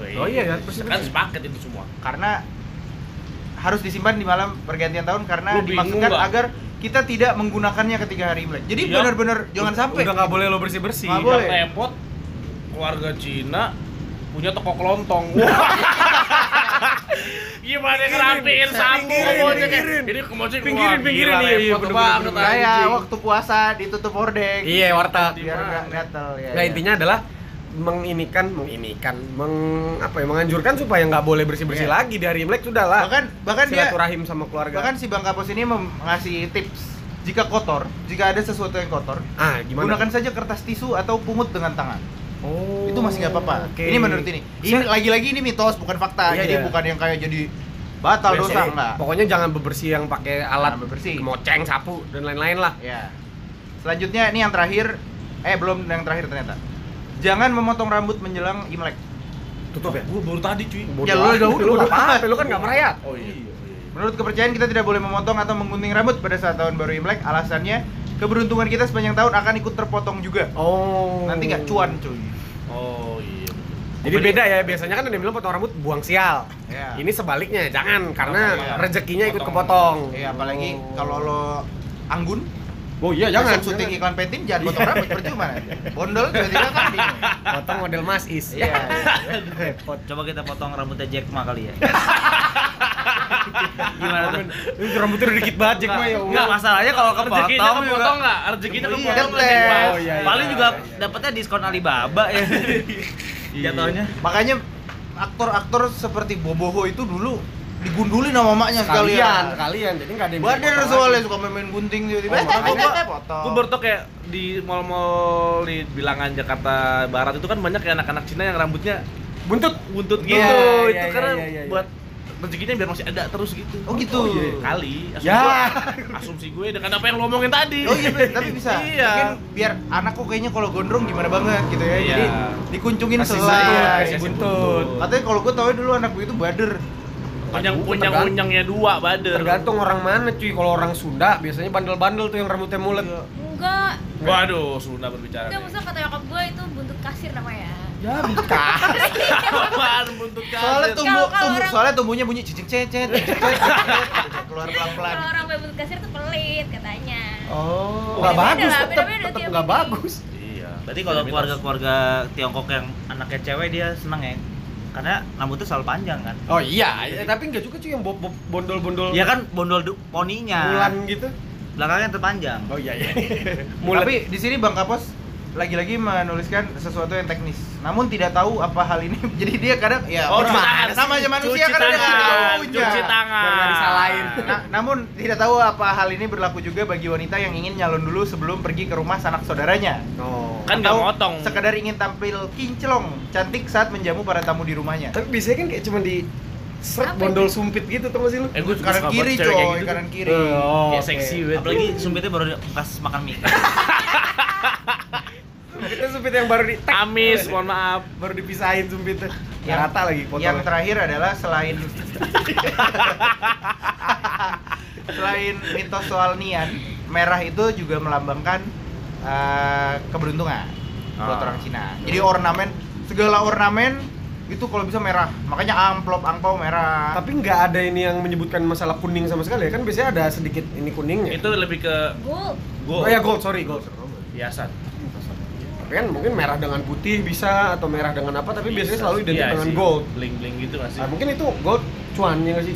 [SPEAKER 3] Oh iya, ya, bersih,
[SPEAKER 2] kan
[SPEAKER 3] bersih.
[SPEAKER 2] sepaket itu semua.
[SPEAKER 4] Karena harus disimpan di malam pergantian tahun karena
[SPEAKER 2] Lu bingung
[SPEAKER 4] dimaksudkan
[SPEAKER 2] nggak?
[SPEAKER 4] agar kita tidak menggunakannya ketika hari Imlek. Jadi
[SPEAKER 2] Iya.
[SPEAKER 4] benar-benar jangan sampai.
[SPEAKER 3] Udah nggak boleh lo bersih-bersih.
[SPEAKER 4] Nggak boleh.
[SPEAKER 2] Yang repot keluarga Cina punya toko
[SPEAKER 3] [LAUGHS]
[SPEAKER 2] kelontong. Wah. Gimana ngerapiin sapu
[SPEAKER 3] pinggirin,
[SPEAKER 2] kemoceng ya?
[SPEAKER 3] pinggirin.
[SPEAKER 2] Ini kemoceng
[SPEAKER 3] Pinggirin,
[SPEAKER 2] wah,
[SPEAKER 3] pinggirin,
[SPEAKER 2] gila,
[SPEAKER 3] iya, iya,
[SPEAKER 2] repot
[SPEAKER 3] bener,
[SPEAKER 2] banget,
[SPEAKER 3] bener, bener.
[SPEAKER 2] anjing.
[SPEAKER 4] Kayak waktu puasa ditutup hordeng.
[SPEAKER 3] Iya, warteg.
[SPEAKER 4] Biar nggak gatel ya.
[SPEAKER 3] Nah
[SPEAKER 4] ya.
[SPEAKER 3] intinya adalah menginikan, menginikan, meng apa ya, menganjurkan supaya nggak boleh bersih bersih
[SPEAKER 4] Iya.
[SPEAKER 3] lagi dari Imlek sudah lah.
[SPEAKER 4] bahkan bahkan dia
[SPEAKER 3] silaturahim sama keluarga.
[SPEAKER 4] bahkan si Bang Kapus ini mem- ngasih tips jika kotor, jika ada sesuatu yang kotor,
[SPEAKER 3] ah gimana?
[SPEAKER 4] gunakan saja kertas tisu atau pungut dengan tangan.
[SPEAKER 3] oh,
[SPEAKER 4] Itu masih nggak apa-apa.
[SPEAKER 3] oke.
[SPEAKER 4] Ini menurut ini. Ini lagi-lagi ini mitos bukan fakta.
[SPEAKER 3] Iya,
[SPEAKER 4] jadi
[SPEAKER 3] iya.
[SPEAKER 4] bukan yang kayak jadi batal
[SPEAKER 3] Jadi,
[SPEAKER 4] dosa enggak.
[SPEAKER 3] ya. Pokoknya jangan bebersih yang pakai alat
[SPEAKER 4] Jangan bebersih.
[SPEAKER 3] moceng, sapu dan lain-lain lah.
[SPEAKER 4] Ya. Selanjutnya ini yang terakhir eh belum yang terakhir ternyata. Jangan memotong rambut menjelang Imlek.
[SPEAKER 3] Tutup ya.
[SPEAKER 2] Gua baru tadi cuy.
[SPEAKER 3] Bodoh
[SPEAKER 4] Ya, lu
[SPEAKER 3] amat.
[SPEAKER 4] udah-
[SPEAKER 3] lu
[SPEAKER 4] udah-
[SPEAKER 3] apa? Lu kan nggak merayakan.
[SPEAKER 2] Oh iya. iya, iya.
[SPEAKER 4] Menurut kepercayaan kita tidak boleh memotong atau menggunting rambut pada saat tahun baru Imlek. Alasannya keberuntungan kita sepanjang tahun akan ikut terpotong juga.
[SPEAKER 3] Oh.
[SPEAKER 4] Nanti nggak cuan cuy.
[SPEAKER 2] Oh iya. betul.
[SPEAKER 3] Jadi beda ya, biasanya kan ada yang bilang potong rambut buang sial.
[SPEAKER 4] Ya.
[SPEAKER 3] Ini sebaliknya, jangan karena
[SPEAKER 2] Iya.
[SPEAKER 3] rezekinya ikut
[SPEAKER 2] Potong.
[SPEAKER 3] kepotong.
[SPEAKER 4] Iya, apalagi
[SPEAKER 3] Oh.
[SPEAKER 4] kalau lo anggun,
[SPEAKER 3] Oh iya,
[SPEAKER 4] jangan
[SPEAKER 3] jangan.
[SPEAKER 4] syuting
[SPEAKER 3] jangan.
[SPEAKER 4] iklan Petin jangan potong rambut percuma. Bondol tiba-tiba kan bingung.
[SPEAKER 3] Potong model Mas Is.
[SPEAKER 4] Iya. iya.
[SPEAKER 1] Coba kita potong rambutnya Jack Ma kali
[SPEAKER 3] [LAUGHS]
[SPEAKER 1] ya. Gimana tuh?
[SPEAKER 3] Ini [LAUGHS] rambutnya udah dikit banget, Jack Ma ya
[SPEAKER 1] Enggak
[SPEAKER 3] Allah.
[SPEAKER 1] masalahnya kalau
[SPEAKER 2] Rezekinya
[SPEAKER 1] kepotong juga.
[SPEAKER 2] kepotong nggak? Rezekinya
[SPEAKER 4] Iya,
[SPEAKER 2] kepotong
[SPEAKER 4] kan,
[SPEAKER 2] nggak, Jack Ma?
[SPEAKER 3] Oh, iya, iya.
[SPEAKER 1] Paling juga dapatnya diskon Alibaba
[SPEAKER 3] [LAUGHS]
[SPEAKER 1] ya.
[SPEAKER 3] Iya.
[SPEAKER 1] Jatuhnya.
[SPEAKER 4] Makanya aktor-aktor seperti Boboho itu dulu digundulin sama
[SPEAKER 3] Kalian,
[SPEAKER 4] maknya sekalian.
[SPEAKER 3] kalian. Jadi enggak ada yang
[SPEAKER 4] Bader
[SPEAKER 3] potong
[SPEAKER 4] soalnya
[SPEAKER 3] lagi.
[SPEAKER 4] suka main-main gunting tiba-tiba.
[SPEAKER 2] Oh, makanya.
[SPEAKER 4] Eh, potong.
[SPEAKER 2] Gue baru tau kayak di mall-mall di bilangan Jakarta Barat itu kan banyak ya anak-anak Cina yang rambutnya
[SPEAKER 3] Buntut.
[SPEAKER 2] buntut gitu.
[SPEAKER 3] Iya, iya,
[SPEAKER 2] itu
[SPEAKER 3] iya,
[SPEAKER 2] karena
[SPEAKER 3] iya, iya, iya.
[SPEAKER 2] buat rezekinya biar masih ada terus gitu.
[SPEAKER 4] Oh, gitu.
[SPEAKER 2] Kali. Asumsi,
[SPEAKER 3] Ya.
[SPEAKER 2] gue, asumsi gue dengan apa yang lo omongin tadi.
[SPEAKER 4] Oh iya, tapi bisa.
[SPEAKER 2] iya.
[SPEAKER 4] Mungkin biar anakku kayaknya kalau gondrong gimana banget gitu ya. Jadi
[SPEAKER 2] Iya.
[SPEAKER 4] dikuncungin
[SPEAKER 3] Kasih
[SPEAKER 2] Iya,
[SPEAKER 3] sayang,
[SPEAKER 4] selai.
[SPEAKER 3] kasih
[SPEAKER 2] kasih
[SPEAKER 3] buntut.
[SPEAKER 4] Katanya kalau gue tau dulu anak gue itu bader.
[SPEAKER 2] Panjang
[SPEAKER 3] Tergantung.
[SPEAKER 2] punyang punyangnya dua bader.
[SPEAKER 3] Tergantung orang mana cuy. Kalau orang Sunda biasanya bandel-bandel tuh yang rambutnya mulet.
[SPEAKER 5] Enggak,
[SPEAKER 2] Waduh, Sunda berbicara.
[SPEAKER 5] enggak
[SPEAKER 2] nih. [LAUGHS]
[SPEAKER 5] maksudnya kata nyokap gue itu buntut kasir namanya.
[SPEAKER 3] Ya, buntut kah?
[SPEAKER 2] Apaan buntut kasir?
[SPEAKER 4] Soalnya tumbuh,
[SPEAKER 5] Kalau- kalau
[SPEAKER 4] tumbuh
[SPEAKER 5] orang-
[SPEAKER 4] soalnya tumbuhnya bunyi cicing cecet, cicing cecet, keluar pelan-pelan.
[SPEAKER 5] Kalau orang pakai buntut kasir tuh pelit katanya.
[SPEAKER 3] Oh,
[SPEAKER 5] Beda-beda
[SPEAKER 3] nggak bagus
[SPEAKER 5] lah,
[SPEAKER 3] tetap
[SPEAKER 5] beda-beda
[SPEAKER 3] tetap
[SPEAKER 5] tiap
[SPEAKER 3] nggak
[SPEAKER 5] ini.
[SPEAKER 3] bagus.
[SPEAKER 2] Iya.
[SPEAKER 1] Berarti kalau keluarga-keluarga Tiongkok yang anaknya cewek dia senang ya. Karena rambutnya selalu panjang kan.
[SPEAKER 3] Oh iya, ya, tapi nggak juga cuy yang bob bob bondol-bondol.
[SPEAKER 2] Iya,
[SPEAKER 1] Ya kan bondol du- poninya.
[SPEAKER 3] Bulan gitu.
[SPEAKER 1] Belakangnya terpanjang.
[SPEAKER 3] Oh iya iya.
[SPEAKER 4] Tapi di sini Bang Kapos lagi-lagi menuliskan sesuatu yang teknis. Namun tidak tahu apa hal ini. [LAUGHS] Jadi dia kadang ya
[SPEAKER 2] Oh, cuci
[SPEAKER 4] orang-
[SPEAKER 2] tangan.
[SPEAKER 4] sama aja manusia
[SPEAKER 2] cuci
[SPEAKER 4] kan ada
[SPEAKER 2] tangan,
[SPEAKER 4] tahunya.
[SPEAKER 2] cuci tangan.
[SPEAKER 3] Biar nggak disalahin.
[SPEAKER 4] Nah, namun tidak tahu apa hal ini berlaku juga bagi wanita yang ingin nyalon dulu sebelum pergi ke rumah sanak saudaranya.
[SPEAKER 3] Oh.
[SPEAKER 2] Kan nggak
[SPEAKER 4] Atau
[SPEAKER 2] motong.
[SPEAKER 4] Sekedar ingin tampil kinclong, cantik saat menjamu para tamu di rumahnya.
[SPEAKER 3] Tapi biasanya kan kayak cuma di seret
[SPEAKER 5] Apa
[SPEAKER 3] bondol sumpit gitu tuh masih lu.
[SPEAKER 2] Eh gue
[SPEAKER 4] Kanan kiri coy,
[SPEAKER 2] gitu
[SPEAKER 4] kanan kiri.
[SPEAKER 3] Oh,
[SPEAKER 2] Kayak
[SPEAKER 3] oke.
[SPEAKER 2] seksi banget.
[SPEAKER 1] Apalagi sumpitnya baru bekas makan mie.
[SPEAKER 3] Sumpitnya sumpit yang baru di [LAUGHS]
[SPEAKER 2] Amis, mohon maaf.
[SPEAKER 3] baru dipisahin sumpitnya.
[SPEAKER 4] Yang-
[SPEAKER 3] Ya, rata lagi potongnya.
[SPEAKER 4] Yang terakhir adalah selain selain mitos soal nian, merah itu juga melambangkan eh, keberuntungan buat
[SPEAKER 2] Ah.
[SPEAKER 4] orang Cina. Jadi ornamen segala ornamen itu kalau bisa merah. Makanya amplop, angpau merah. [LAUGHS]
[SPEAKER 3] Tapi nggak ada ini yang menyebutkan masalah kuning sama sekali ya kan biasanya ada sedikit ini kuningnya.
[SPEAKER 2] Itu lebih ke
[SPEAKER 5] Gold.
[SPEAKER 2] gue
[SPEAKER 3] Oh ya gold, sorry gold.
[SPEAKER 2] hiasan.
[SPEAKER 3] Tapi kan mungkin merah dengan putih bisa atau merah dengan apa tapi biasanya selalu identik
[SPEAKER 2] Iya
[SPEAKER 3] dengan
[SPEAKER 2] sih,
[SPEAKER 3] gold.
[SPEAKER 2] Bling-bling gitu nggak sih?
[SPEAKER 3] Ah, mungkin itu gold cuannya nggak sih?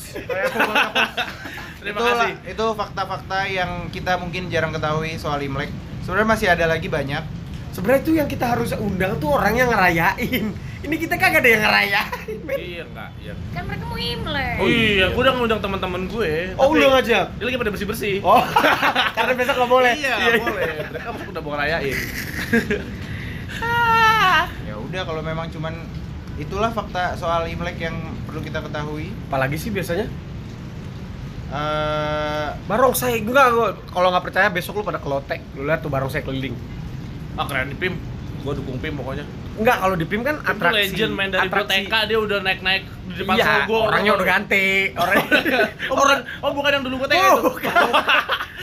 [SPEAKER 2] Terima
[SPEAKER 4] itu,
[SPEAKER 2] kasih.
[SPEAKER 4] itu fakta-fakta yang kita mungkin jarang ketahui soal Imlek. Sebenarnya masih ada lagi banyak.
[SPEAKER 3] Sebenarnya itu yang kita harus undang tuh orang yang ngerayain. Ini kita kagak ada yang ngerayain. men.
[SPEAKER 2] Iya enggak, iya.
[SPEAKER 5] Kan mereka mau Imlek.
[SPEAKER 2] Oh iya, gue udah ngundang teman-teman gue.
[SPEAKER 3] Eh, Oh,
[SPEAKER 2] tapi
[SPEAKER 3] undang aja.
[SPEAKER 2] Dia lagi pada bersih-bersih.
[SPEAKER 3] Oh, [LAUGHS] karena besok nggak boleh.
[SPEAKER 2] Iya, boleh. Mereka masuk udah mau ngerayain.
[SPEAKER 4] Ya udah kalau memang cuman itulah fakta soal Imlek yang perlu kita ketahui.
[SPEAKER 3] Apalagi sih biasanya?
[SPEAKER 4] Eh,
[SPEAKER 3] Barongsai enggak gua kalau nggak percaya besok lu pada kelotek. Lu lihat tuh barongsai keliling.
[SPEAKER 2] Oh keren nih Pim. Gue dukung Pim pokoknya.
[SPEAKER 3] Enggak, kalau di PIM kan
[SPEAKER 2] Pim tuh
[SPEAKER 3] atraksi.
[SPEAKER 2] legend main dari
[SPEAKER 3] atraksi.
[SPEAKER 2] TK dia udah naik-naik di depan
[SPEAKER 3] Iya,
[SPEAKER 2] gua.
[SPEAKER 3] orangnya udah ganti. Orang
[SPEAKER 2] Oh, bukan, oh bukan yang dulu gue TK itu.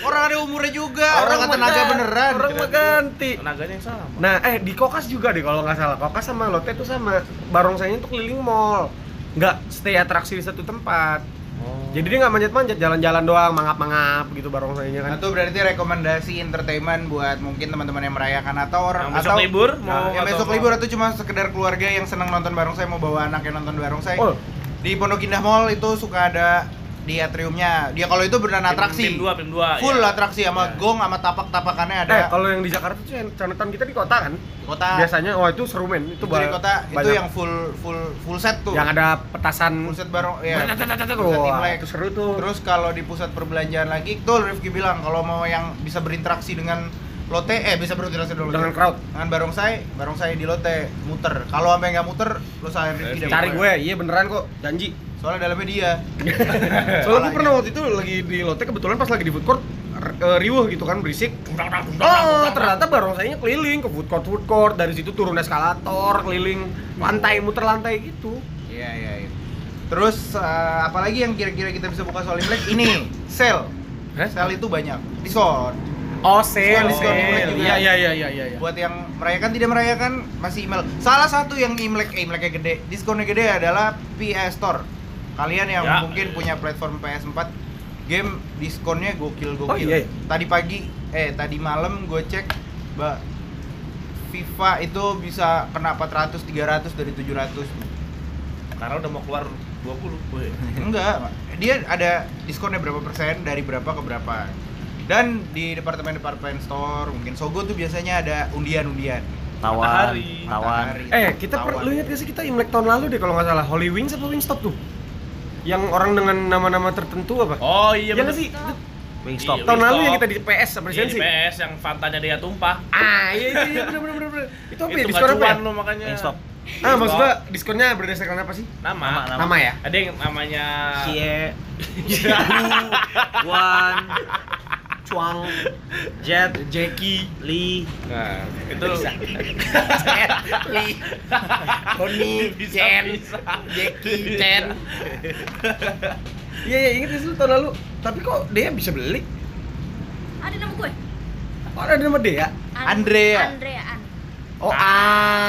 [SPEAKER 4] orang ada umurnya juga, orang,
[SPEAKER 3] mah
[SPEAKER 4] ada tenaga
[SPEAKER 3] ganti.
[SPEAKER 4] beneran.
[SPEAKER 3] Orang mah ganti.
[SPEAKER 2] Tenaganya yang sama.
[SPEAKER 3] Nah, eh di Kokas juga deh kalau nggak salah. Kokas sama Lotte tuh sama. Barongsainya tuh keliling mall. Nggak stay atraksi di satu tempat.
[SPEAKER 2] Oh.
[SPEAKER 3] Jadi dia nggak manjat-manjat, jalan-jalan doang, mangap-mangap gitu barongsainya kan.
[SPEAKER 4] Atau Nah, berarti rekomendasi entertainment buat mungkin teman-teman yang merayakan atau orang
[SPEAKER 2] Yang besok
[SPEAKER 4] atau
[SPEAKER 2] libur
[SPEAKER 3] Nah,
[SPEAKER 2] mau
[SPEAKER 4] yang besok
[SPEAKER 2] atau-
[SPEAKER 4] libur atau cuma sekedar keluarga yang senang nonton bareng saya mau bawa anaknya nonton bareng saya.
[SPEAKER 3] Oh.
[SPEAKER 4] Di Pondok Indah Mall itu suka ada di atriumnya. Dia kalau itu beneran
[SPEAKER 2] Pim-
[SPEAKER 4] atraksi.
[SPEAKER 2] Pim 2, Pim 2.
[SPEAKER 4] Full
[SPEAKER 2] ya.
[SPEAKER 4] atraksi sama
[SPEAKER 2] Iya.
[SPEAKER 4] gong sama tapak-tapakannya ada.
[SPEAKER 3] Eh, kalau yang di Jakarta tuh yang catatan kita di kota kan.
[SPEAKER 4] kota
[SPEAKER 3] Biasanya wah itu seru men. Itu,
[SPEAKER 4] itu
[SPEAKER 3] ba-
[SPEAKER 4] di kota itu
[SPEAKER 3] banyak.
[SPEAKER 4] yang full full full set tuh.
[SPEAKER 3] yang ada petasan
[SPEAKER 4] full set bareng ya. Pusat
[SPEAKER 3] Wah,
[SPEAKER 4] Imlek.
[SPEAKER 3] itu seru tuh.
[SPEAKER 4] Terus kalau di pusat perbelanjaan lagi, tuh Rifki bilang kalau mau yang bisa berinteraksi dengan Lotte, eh bisa berinteraksi dengan Lotte.
[SPEAKER 3] Dengan crowd.
[SPEAKER 4] Dengan barongsai, barongsai di Lotte muter. Kalau sampai nggak muter, lo sayang Rifki deh.
[SPEAKER 3] Cari gue, iya beneran kok, janji.
[SPEAKER 4] Soalnya dalamnya dia.
[SPEAKER 3] [LAUGHS] Soalnya gue pernah waktu itu lagi di Lotte kebetulan pas lagi di food court r- eh, riuh gitu kan berisik. Oh, ternyata barongsainya keliling ke food court food court dari situ turun eskalator keliling lantai muter lantai gitu.
[SPEAKER 4] Iya, iya, iya. Terus eh, apalagi yang kira-kira kita bisa buka soal Imlek ini sale. Sale itu banyak. Diskon.
[SPEAKER 3] Oh, sale,
[SPEAKER 4] Diskon, diskon Imlek
[SPEAKER 3] sale.
[SPEAKER 4] juga.
[SPEAKER 2] Iya iya iya iya iya. Ya.
[SPEAKER 4] Buat yang merayakan tidak merayakan masih email. Salah satu yang Imlek eh, Imleknya gede, diskonnya gede adalah PS Store. Kalian yang
[SPEAKER 2] Ya.
[SPEAKER 4] mungkin punya platform PS4 game diskonnya gokil-gokil.
[SPEAKER 3] Oh, iya, iya.
[SPEAKER 4] Tadi pagi eh tadi malam gue cek Mbak FIFA itu bisa kena 400 300 dari
[SPEAKER 3] [LAUGHS]
[SPEAKER 4] 700.
[SPEAKER 2] Karena udah mau keluar 20. Woi.
[SPEAKER 4] Enggak, Pak. dia ada diskonnya berapa persen dari berapa ke berapa. Dan di departemen-departemen store, mungkin Sogo tuh biasanya ada undian-undian.
[SPEAKER 1] Tawan,
[SPEAKER 2] Matahari.
[SPEAKER 1] tawan.
[SPEAKER 4] Matahari,
[SPEAKER 3] Eh, kita per,
[SPEAKER 4] tawan.
[SPEAKER 3] lu ingat gak sih kita Imlek tahun lalu deh kalau nggak salah Holy Wings apa Wingstop tuh? Yang orang dengan nama-nama tertentu apa?
[SPEAKER 2] Oh iya.
[SPEAKER 3] ya
[SPEAKER 2] bener.
[SPEAKER 3] nggak sih?
[SPEAKER 5] Stop.
[SPEAKER 1] Wingstop.
[SPEAKER 2] Iya.
[SPEAKER 3] Tahun lalu
[SPEAKER 2] Wingstop.
[SPEAKER 3] yang kita di PS sama
[SPEAKER 2] Iya, di
[SPEAKER 3] Sensi.
[SPEAKER 2] PS yang fantanya dia tumpah.
[SPEAKER 3] Ah, iya iya iya bener bener bener. bener. Itu apa ya?
[SPEAKER 2] Itu
[SPEAKER 3] Diskon apa ya?
[SPEAKER 2] gacuan lu makanya.
[SPEAKER 1] Wingstop.
[SPEAKER 3] Ah, maksud gua diskonnya berdasarkan apa sih?
[SPEAKER 2] Nama.
[SPEAKER 1] Nama, nama.
[SPEAKER 3] Nama ya?
[SPEAKER 2] Ada yang namanya [LAUGHS]
[SPEAKER 1] Cie, Wu, Wan, Chuang, Jet, Jackie, Lee,
[SPEAKER 2] Nah, itu
[SPEAKER 3] Lee, Tony,
[SPEAKER 2] Bisa, bisa.
[SPEAKER 3] Jackie, Chen. Iya iya inget sih lu tahun lalu. Tapi kok dia bisa beli?
[SPEAKER 5] Ada nama gue?
[SPEAKER 3] Oh ada nama dia?
[SPEAKER 5] An-
[SPEAKER 4] Andrea.
[SPEAKER 5] Andreaan.
[SPEAKER 3] Oh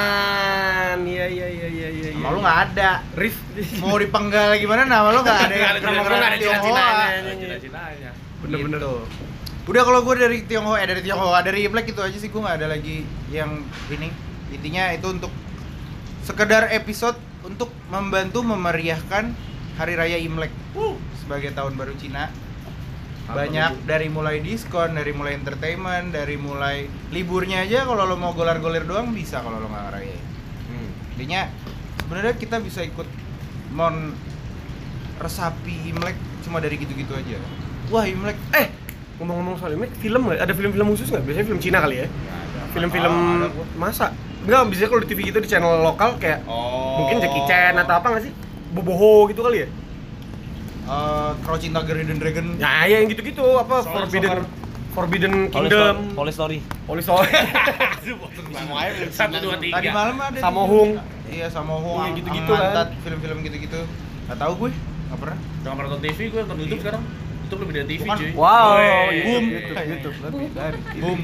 [SPEAKER 3] An. Iya iya iya iya iya.
[SPEAKER 4] Nama Ah. lu nggak ada.
[SPEAKER 3] Rif.
[SPEAKER 4] Mau dipenggal gimana nama lu nggak ada.
[SPEAKER 2] Nggak ada,
[SPEAKER 4] Nama
[SPEAKER 2] nggak
[SPEAKER 4] orang
[SPEAKER 2] ada
[SPEAKER 4] Tionghoa.
[SPEAKER 2] Ada cita-citanya.
[SPEAKER 3] Bener-bener.
[SPEAKER 4] Gitu. Udah kalau gue dari Tionghoa, eh dari Tionghoa, dari Imlek itu aja sih gue nggak ada lagi yang ini. Intinya itu untuk sekedar episode untuk membantu memeriahkan Hari Raya Imlek sebagai tahun baru Cina. Banyak dari mulai diskon, dari mulai entertainment, dari mulai liburnya aja kalau lo mau golar-golir doang bisa kalau lo nggak ngerayain.
[SPEAKER 3] Hmm.
[SPEAKER 4] Intinya sebenarnya kita bisa ikut mon resapi Imlek cuma dari gitu-gitu aja. Wah, Imlek.
[SPEAKER 3] Eh, ngomong-ngomong soal Imlek, film nggak? Ada film-film khusus nggak? Biasanya film Cina kali ya? Film-film
[SPEAKER 4] Ah, ada gua.
[SPEAKER 3] masa? Enggak, biasanya kalau di TV gitu di channel lokal kayak
[SPEAKER 2] Oh.
[SPEAKER 3] mungkin Jackie Chan atau apa nggak sih? Boboho gitu kali ya?
[SPEAKER 4] Eh, Crouching Tiger Hidden Dragon.
[SPEAKER 3] Ya, ya yang gitu-gitu apa
[SPEAKER 2] Solar
[SPEAKER 3] Forbidden
[SPEAKER 2] Soccer.
[SPEAKER 3] Forbidden Kingdom,
[SPEAKER 1] Holy
[SPEAKER 3] Gitu,
[SPEAKER 1] Story- Holy Story.
[SPEAKER 3] Holy
[SPEAKER 4] [LAUGHS]
[SPEAKER 3] Soul.
[SPEAKER 2] Semuanya belum Satu, dua, tiga.
[SPEAKER 4] Tadi malam ada tuh.
[SPEAKER 3] Samohung.
[SPEAKER 4] Iya, Samohung.
[SPEAKER 3] Iya,
[SPEAKER 4] Ang-
[SPEAKER 3] gitu-gitu
[SPEAKER 4] Ang
[SPEAKER 3] kan.
[SPEAKER 4] Mantat, film-film gitu-gitu. Enggak tahu gue, enggak pernah.
[SPEAKER 2] Udah nggak pernah nonton TV, gue nonton YouTube sekarang. YouTube lebih dari TV,
[SPEAKER 4] Bukan.
[SPEAKER 2] cuy.
[SPEAKER 3] Wow,
[SPEAKER 2] Woi.
[SPEAKER 3] YouTube,
[SPEAKER 2] Woi.
[SPEAKER 3] YouTube, YouTube, lebih dari.
[SPEAKER 4] Boom.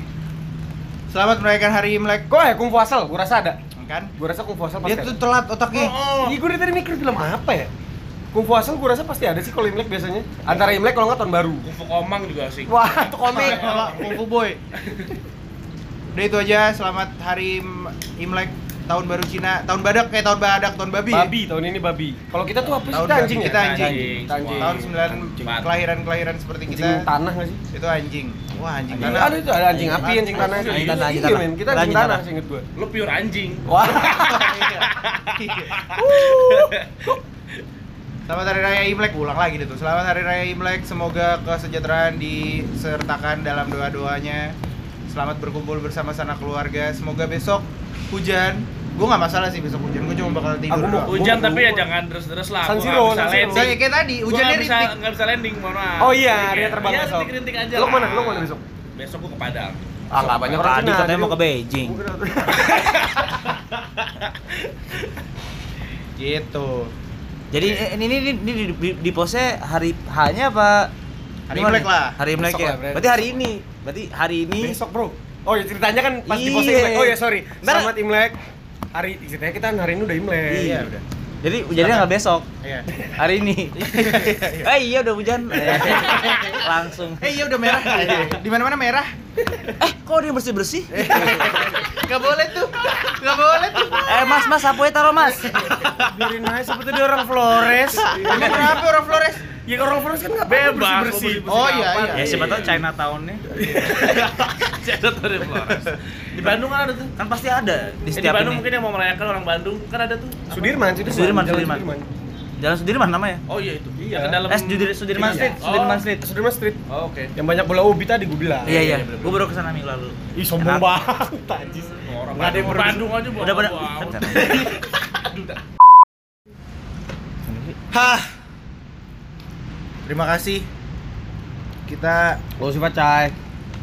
[SPEAKER 4] Selamat merayakan hari Imlek,
[SPEAKER 3] Kok ya Kung Fu Asal? Gua rasa ada.
[SPEAKER 4] kan?
[SPEAKER 3] Gua rasa Kung Fu Asal pasti.
[SPEAKER 4] Dia
[SPEAKER 3] ada.
[SPEAKER 4] tuh telat otaknya.
[SPEAKER 2] Oh,
[SPEAKER 3] Iya, gue dari tadi mikir film apa ya? Kung Fu Asal gue rasa pasti ada sih kalau Imlek biasanya. Antara Imlek kalau nggak tahun baru.
[SPEAKER 2] Kufu gitu. Komang juga asik.
[SPEAKER 3] Wah, itu komik.
[SPEAKER 4] Kalau Kung Fu Boy. Udah itu aja, selamat hari Im- Imlek tahun baru Cina, tahun badak eh tahun badak, tahun babi.
[SPEAKER 3] Babi tahun ini babi. Kalau kita tuh apa sih?
[SPEAKER 4] Tahun
[SPEAKER 3] Kita
[SPEAKER 4] babi,
[SPEAKER 3] anjing ya?
[SPEAKER 4] kita anjing.
[SPEAKER 3] Kita anjing.
[SPEAKER 4] Tahun 9
[SPEAKER 2] Anjing.
[SPEAKER 4] kelahiran-kelahiran seperti
[SPEAKER 3] Anjing
[SPEAKER 4] kita
[SPEAKER 3] tanah nggak sih?
[SPEAKER 4] itu anjing. Wah, anjing.
[SPEAKER 3] Anjing
[SPEAKER 4] Karena
[SPEAKER 3] ada itu ada anjing api, anjing tanah.
[SPEAKER 2] Anjing
[SPEAKER 3] Iya,
[SPEAKER 1] tanah, anjing
[SPEAKER 3] iya,
[SPEAKER 1] tanah.
[SPEAKER 3] men. Kita anjing
[SPEAKER 1] Anjing
[SPEAKER 3] tanah,
[SPEAKER 1] tanah.
[SPEAKER 3] seinget gue.
[SPEAKER 2] Lu pure anjing.
[SPEAKER 3] Wah,
[SPEAKER 4] Iya. Selamat Hari Raya Imlek, ulang lagi deh tuh. Selamat Hari Raya Imlek, semoga kesejahteraan disertakan dalam doa-doanya. Selamat berkumpul bersama sanak keluarga. Semoga besok hujan. Gue nggak masalah sih besok hujan. Gue cuma bakal tidur
[SPEAKER 3] Aku mau-
[SPEAKER 4] doang.
[SPEAKER 2] Hujan
[SPEAKER 3] Gua-
[SPEAKER 2] tapi ya
[SPEAKER 3] gua-
[SPEAKER 2] jangan terus-terus lah.
[SPEAKER 3] San
[SPEAKER 2] Gua
[SPEAKER 3] Siro,
[SPEAKER 2] nggak bisa
[SPEAKER 3] San Siro.
[SPEAKER 2] landing.
[SPEAKER 4] Saya kayak tadi,
[SPEAKER 2] Gua
[SPEAKER 4] hujannya
[SPEAKER 2] nggak bisa,
[SPEAKER 4] rintik.
[SPEAKER 2] nggak bisa landing, mohon maaf.
[SPEAKER 3] Oh iya,
[SPEAKER 2] Rintik
[SPEAKER 3] dia
[SPEAKER 2] ya.
[SPEAKER 3] terbang
[SPEAKER 2] Iya,
[SPEAKER 3] besok.
[SPEAKER 2] rintik-rintik aja.
[SPEAKER 3] Lo
[SPEAKER 2] lah.
[SPEAKER 3] kemana? Lo kemana besok?
[SPEAKER 2] Besok gua ke Padang.
[SPEAKER 3] ah nggak banyak orang
[SPEAKER 1] Tadi
[SPEAKER 3] Cina,
[SPEAKER 1] katanya
[SPEAKER 3] jadi
[SPEAKER 1] mau ke
[SPEAKER 3] lu-
[SPEAKER 1] Beijing.
[SPEAKER 4] Gitu.
[SPEAKER 1] Jadi eh, ini ini ini, ini di, di, di postnya hari hanya apa?
[SPEAKER 4] Hari
[SPEAKER 1] Gimana?
[SPEAKER 4] Imlek lah.
[SPEAKER 1] Hari Imlek
[SPEAKER 3] Besok
[SPEAKER 1] ya.
[SPEAKER 3] lah, berarti.
[SPEAKER 1] Berarti hari ini. Berarti hari ini.
[SPEAKER 3] Besok bro. Oh ya ceritanya kan pas di pos
[SPEAKER 1] Iya.
[SPEAKER 3] Imlek. Oh ya sorry.
[SPEAKER 1] Ntar-
[SPEAKER 3] Selamat Imlek. Hari ceritanya kita hari ini udah Imlek.
[SPEAKER 1] Iya.
[SPEAKER 4] udah.
[SPEAKER 1] Jadi hujannya nggak besok.
[SPEAKER 4] Iya.
[SPEAKER 1] Hari ini. eh iya udah hujan. Eh, Langsung.
[SPEAKER 4] Eh iya udah merah. Di mana-mana merah.
[SPEAKER 1] Eh kok dia bersih bersih?
[SPEAKER 4] Gak boleh tuh. Gak boleh tuh.
[SPEAKER 1] eh mas mas sapunya taruh mas.
[SPEAKER 3] Biarin aja seperti dia orang Flores.
[SPEAKER 4] Emang kenapa orang Flores?
[SPEAKER 3] ya orang Flores kan nggak
[SPEAKER 2] Bebas,
[SPEAKER 3] bebas
[SPEAKER 2] mau
[SPEAKER 3] bersih.
[SPEAKER 2] bersih-bersih
[SPEAKER 4] Oh, iya,
[SPEAKER 2] kapan.
[SPEAKER 4] iya.
[SPEAKER 1] ya siapa tahu China [LAUGHS] Townnya
[SPEAKER 2] Ada tuh di Flores. Di Bandung kan ada tuh.
[SPEAKER 1] kan pasti ada di
[SPEAKER 2] Eh, Di
[SPEAKER 1] setiap
[SPEAKER 2] Bandung
[SPEAKER 1] ini.
[SPEAKER 2] mungkin yang mau merayakan orang Bandung kan ada tuh. Apa?
[SPEAKER 3] Oh, Sudirman, Sudirman,
[SPEAKER 1] Sudirman,
[SPEAKER 3] Jalan
[SPEAKER 1] Sudirman. Jalan Sudirman namanya.
[SPEAKER 2] Oh iya itu.
[SPEAKER 3] Iya.
[SPEAKER 2] Yang ke dalam.
[SPEAKER 1] Eh Sudir- Sudirman
[SPEAKER 2] Iya.
[SPEAKER 1] Street,
[SPEAKER 2] Oh.
[SPEAKER 1] Sudirman Street.
[SPEAKER 3] Sudirman Street.
[SPEAKER 2] Oh, oke.
[SPEAKER 3] Yang banyak bola ubi tadi gue bilang.
[SPEAKER 1] Iya iya,
[SPEAKER 2] iya, bener-bener.
[SPEAKER 1] gue baru kesana minggu lalu.
[SPEAKER 3] Ih sombong
[SPEAKER 1] Enak.
[SPEAKER 3] banget tajis.
[SPEAKER 2] Orang
[SPEAKER 3] Nggak ada yang
[SPEAKER 2] Bandung,
[SPEAKER 3] pernah-
[SPEAKER 2] Bandung aja bawa-
[SPEAKER 1] Udah pada.
[SPEAKER 2] bawa out. Aduh, dah.
[SPEAKER 4] Hah. Terima kasih. Kita
[SPEAKER 3] Lo sifat cai.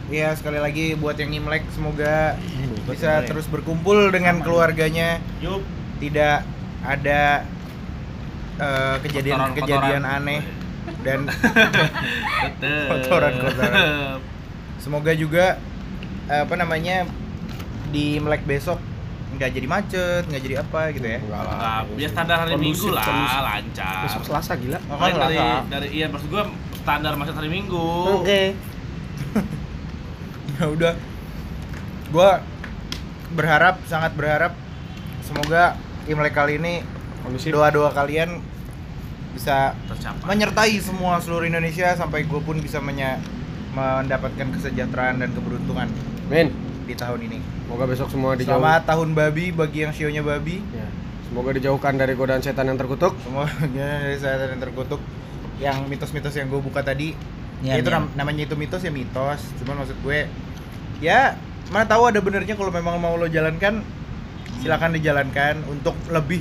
[SPEAKER 4] Ya sekali lagi buat yang Imlek semoga
[SPEAKER 3] Hmm,
[SPEAKER 4] bisa terus berkumpul dengan keluarganya,
[SPEAKER 2] Yup.
[SPEAKER 4] tidak ada eh, kejadian-kejadian
[SPEAKER 2] Kotoran-kotoran.
[SPEAKER 4] aneh dan
[SPEAKER 2] Tetep.
[SPEAKER 4] Kotoran-kotoran. semoga juga eh, apa namanya di Melek besok nggak jadi macet, nggak jadi apa gitu ya.
[SPEAKER 3] Enggak
[SPEAKER 2] Nah, ya standar hari Minggu
[SPEAKER 3] Kondusif,
[SPEAKER 2] lah,
[SPEAKER 3] kondusif.
[SPEAKER 2] lancar.
[SPEAKER 3] Besok Selasa gila.
[SPEAKER 4] Oh,
[SPEAKER 2] Makanya
[SPEAKER 4] kan
[SPEAKER 2] dari,
[SPEAKER 4] Selasa.
[SPEAKER 2] dari iya maksud gua standar masih hari Minggu.
[SPEAKER 4] ya udah gua berharap sangat berharap semoga imlek kali ini
[SPEAKER 3] Kondusif.
[SPEAKER 4] doa doa kalian bisa
[SPEAKER 2] Tercapai.
[SPEAKER 4] menyertai semua seluruh Indonesia sampai gue pun bisa menya- mendapatkan kesejahteraan dan keberuntungan
[SPEAKER 3] Min,
[SPEAKER 4] di tahun ini.
[SPEAKER 3] semoga besok semua dijauh.
[SPEAKER 4] Selamat tahun babi bagi yang sionya babi.
[SPEAKER 3] Ya. Semoga dijauhkan dari godaan setan yang terkutuk.
[SPEAKER 4] Semuanya dari saya yang terkutuk yang mitos-mitos yang gue buka tadi
[SPEAKER 1] Nian,
[SPEAKER 4] ya itu
[SPEAKER 1] nian.
[SPEAKER 4] nam- namanya itu mitos ya mitos cuman maksud gue ya mana tahu ada benernya kalau memang mau lo jalankan silakan dijalankan untuk lebih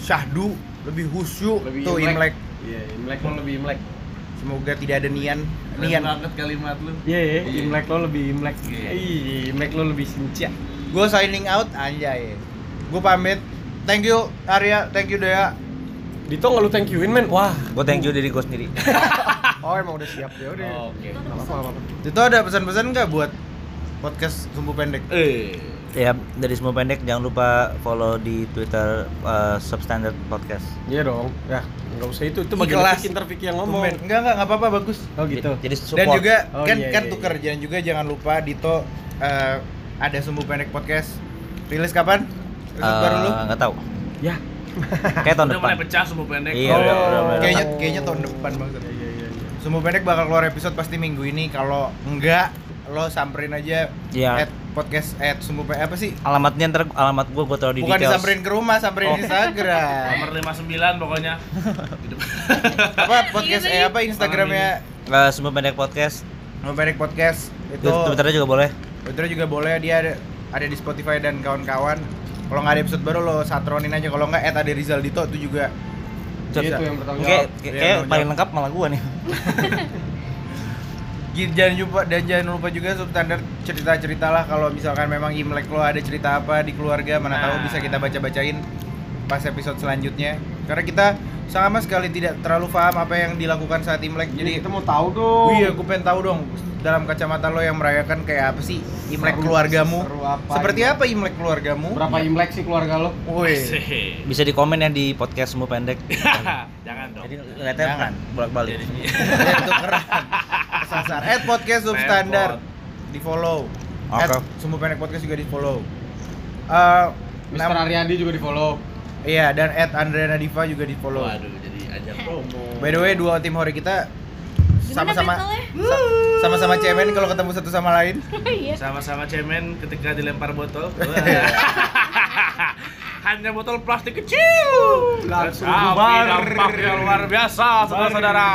[SPEAKER 4] syahdu lebih husyu tuh imlek.
[SPEAKER 3] Iya, Imlek lo lebih Imlek.
[SPEAKER 4] semoga tidak ada nian
[SPEAKER 2] Keren
[SPEAKER 4] nian
[SPEAKER 2] banget kalimat lu.
[SPEAKER 3] Iya, iya,
[SPEAKER 2] Iya.
[SPEAKER 3] Imlek lo lebih Imlek.
[SPEAKER 2] Iya.
[SPEAKER 3] Iya, Imlek lo lebih sincia.
[SPEAKER 4] gue signing out anjay gue pamit thank you Arya thank you Dea
[SPEAKER 3] Dito nggak lu thank youin, men? Wah.
[SPEAKER 1] Gue thank you diri gue sendiri.
[SPEAKER 3] [LAUGHS] Oh, emang udah siap ya udah.
[SPEAKER 2] Oke.
[SPEAKER 3] Nggak apa-apa, nggak apa-apa.
[SPEAKER 4] itu ada pesan-pesan nggak buat podcast sumbu pendek
[SPEAKER 2] Eh.
[SPEAKER 1] ya dari semua pendek jangan lupa follow di Twitter eh, Substandard Podcast.
[SPEAKER 3] Iya dong. Ya, nggak usah itu. Itu bagian
[SPEAKER 4] Ikhlas.
[SPEAKER 3] Vicky, ntar Vicky yang ngomong.
[SPEAKER 4] Tumben. enggak enggak enggak apa-apa bagus
[SPEAKER 3] Oh gitu.
[SPEAKER 1] Jadi
[SPEAKER 4] dan
[SPEAKER 1] support.
[SPEAKER 4] juga
[SPEAKER 3] Oh,
[SPEAKER 4] kan
[SPEAKER 3] iya,
[SPEAKER 4] kan
[SPEAKER 3] iya,
[SPEAKER 4] tuker
[SPEAKER 3] iya.
[SPEAKER 4] dan juga jangan lupa Dito eh, ada sumbu pendek podcast rilis kapan rilis
[SPEAKER 1] Eh,
[SPEAKER 4] baru lu
[SPEAKER 1] nggak tahu.
[SPEAKER 3] Ya.
[SPEAKER 1] Kayak tahun
[SPEAKER 2] Udah
[SPEAKER 1] depan.
[SPEAKER 2] mulai pecah semua pendek. Oh,
[SPEAKER 1] Iya, udah, udah, udah.
[SPEAKER 4] kayaknya kayaknya tahun depan banget
[SPEAKER 3] Oh. Iya, iya, iya.
[SPEAKER 4] sumbu pendek bakal keluar episode pasti minggu ini kalau enggak lo samperin aja
[SPEAKER 1] Iya.
[SPEAKER 4] at podcast at sumbu pendek apa sih
[SPEAKER 1] Alamatnya ntar alamat gue gue taruh di
[SPEAKER 4] bukan
[SPEAKER 1] details. Oh.
[SPEAKER 4] disamperin ke rumah samperin di Instagram
[SPEAKER 2] Nomor
[SPEAKER 1] [LAUGHS]
[SPEAKER 2] 59 pokoknya. Di depan.
[SPEAKER 4] apa podcast
[SPEAKER 5] Iya,
[SPEAKER 4] eh
[SPEAKER 5] iya.
[SPEAKER 4] apa Instagramnya
[SPEAKER 1] Eh, semua pendek podcast.
[SPEAKER 4] sumbu pendek podcast itu
[SPEAKER 1] Twitternya juga boleh.
[SPEAKER 4] Betul juga boleh dia ada, ada di Spotify dan kawan-kawan. Kalau nggak ada episode baru lo satronin aja. Kalau nggak, Eta ada Rizal Dito itu juga.
[SPEAKER 3] Dia itu yang bertanggung
[SPEAKER 1] Oke,
[SPEAKER 3] jawab.
[SPEAKER 1] kayak
[SPEAKER 4] Iya,
[SPEAKER 1] kayak
[SPEAKER 4] tanggung
[SPEAKER 1] paling
[SPEAKER 4] jawab.
[SPEAKER 1] lengkap malah gue nih.
[SPEAKER 4] Gi- Jangan lupa dan jangan lupa juga substandard cerita-ceritalah kalau misalkan memang Imlek lo ada cerita apa di keluarga mana tahu
[SPEAKER 2] Nah.
[SPEAKER 4] bisa kita baca-bacain pas episode selanjutnya. Karena kita sama sekali tidak terlalu paham apa yang dilakukan saat Imlek.
[SPEAKER 3] Jadi
[SPEAKER 4] Jadi
[SPEAKER 3] kita mau tahu dong.
[SPEAKER 4] Wih, aku pengen tahu dong dalam kacamata lo yang merayakan kayak apa sih Imlek
[SPEAKER 3] Seru-
[SPEAKER 4] keluargamu?
[SPEAKER 3] seseru apa
[SPEAKER 4] Seperti
[SPEAKER 3] Imlek?
[SPEAKER 4] apa Imlek keluargamu? [LAUGHS]
[SPEAKER 3] Berapa Imlek sih keluarga lo?
[SPEAKER 4] Wih.
[SPEAKER 2] [LAUGHS]
[SPEAKER 1] Bisa di komen ya di podcast semua pendek.
[SPEAKER 2] Nah, Jangan dong.
[SPEAKER 1] Jadi ngeliatnya
[SPEAKER 4] Iya. Jangan.
[SPEAKER 1] kan bolak-balik.
[SPEAKER 4] Ya, itu keren. Kesasar. At podcast substandard di follow.
[SPEAKER 1] Oke.
[SPEAKER 4] At sumbu pendek podcast juga di follow. Eh,
[SPEAKER 3] Mister
[SPEAKER 4] nam-
[SPEAKER 3] Aryadi juga di follow.
[SPEAKER 4] iya dan at Andrea Nadifa juga di follow.
[SPEAKER 2] Waduh, jadi ajak promo.
[SPEAKER 4] By the way dua tim hori kita
[SPEAKER 5] Gimana
[SPEAKER 4] sama-sama [LAUGHS]
[SPEAKER 5] battle-nya?
[SPEAKER 4] sama-sama cemen kalau ketemu satu sama lain.
[SPEAKER 5] Iya.
[SPEAKER 2] Sama-sama cemen ketika dilempar
[SPEAKER 1] [LAUGHS]
[SPEAKER 2] botol. Hanya botol plastik kecil.
[SPEAKER 3] Langsung
[SPEAKER 2] Tapi
[SPEAKER 3] bubar.
[SPEAKER 2] dampaknya luar biasa, saudara-saudara.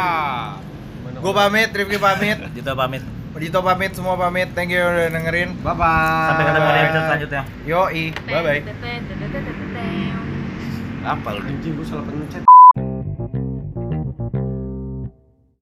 [SPEAKER 4] Gue pamit, Rifki pamit,
[SPEAKER 1] Gitu pamit.
[SPEAKER 4] Dito pamit, semua pamit. Thank you udah dengerin.
[SPEAKER 3] Bye bye.
[SPEAKER 1] Sampai ketemu di
[SPEAKER 4] Bye.
[SPEAKER 1] episode selanjutnya.
[SPEAKER 4] Yoi, bye bye.
[SPEAKER 5] Teng, teng, teng, teng, teng, teng, teng.
[SPEAKER 2] Apa lu?
[SPEAKER 3] Anjing gue salah pencet.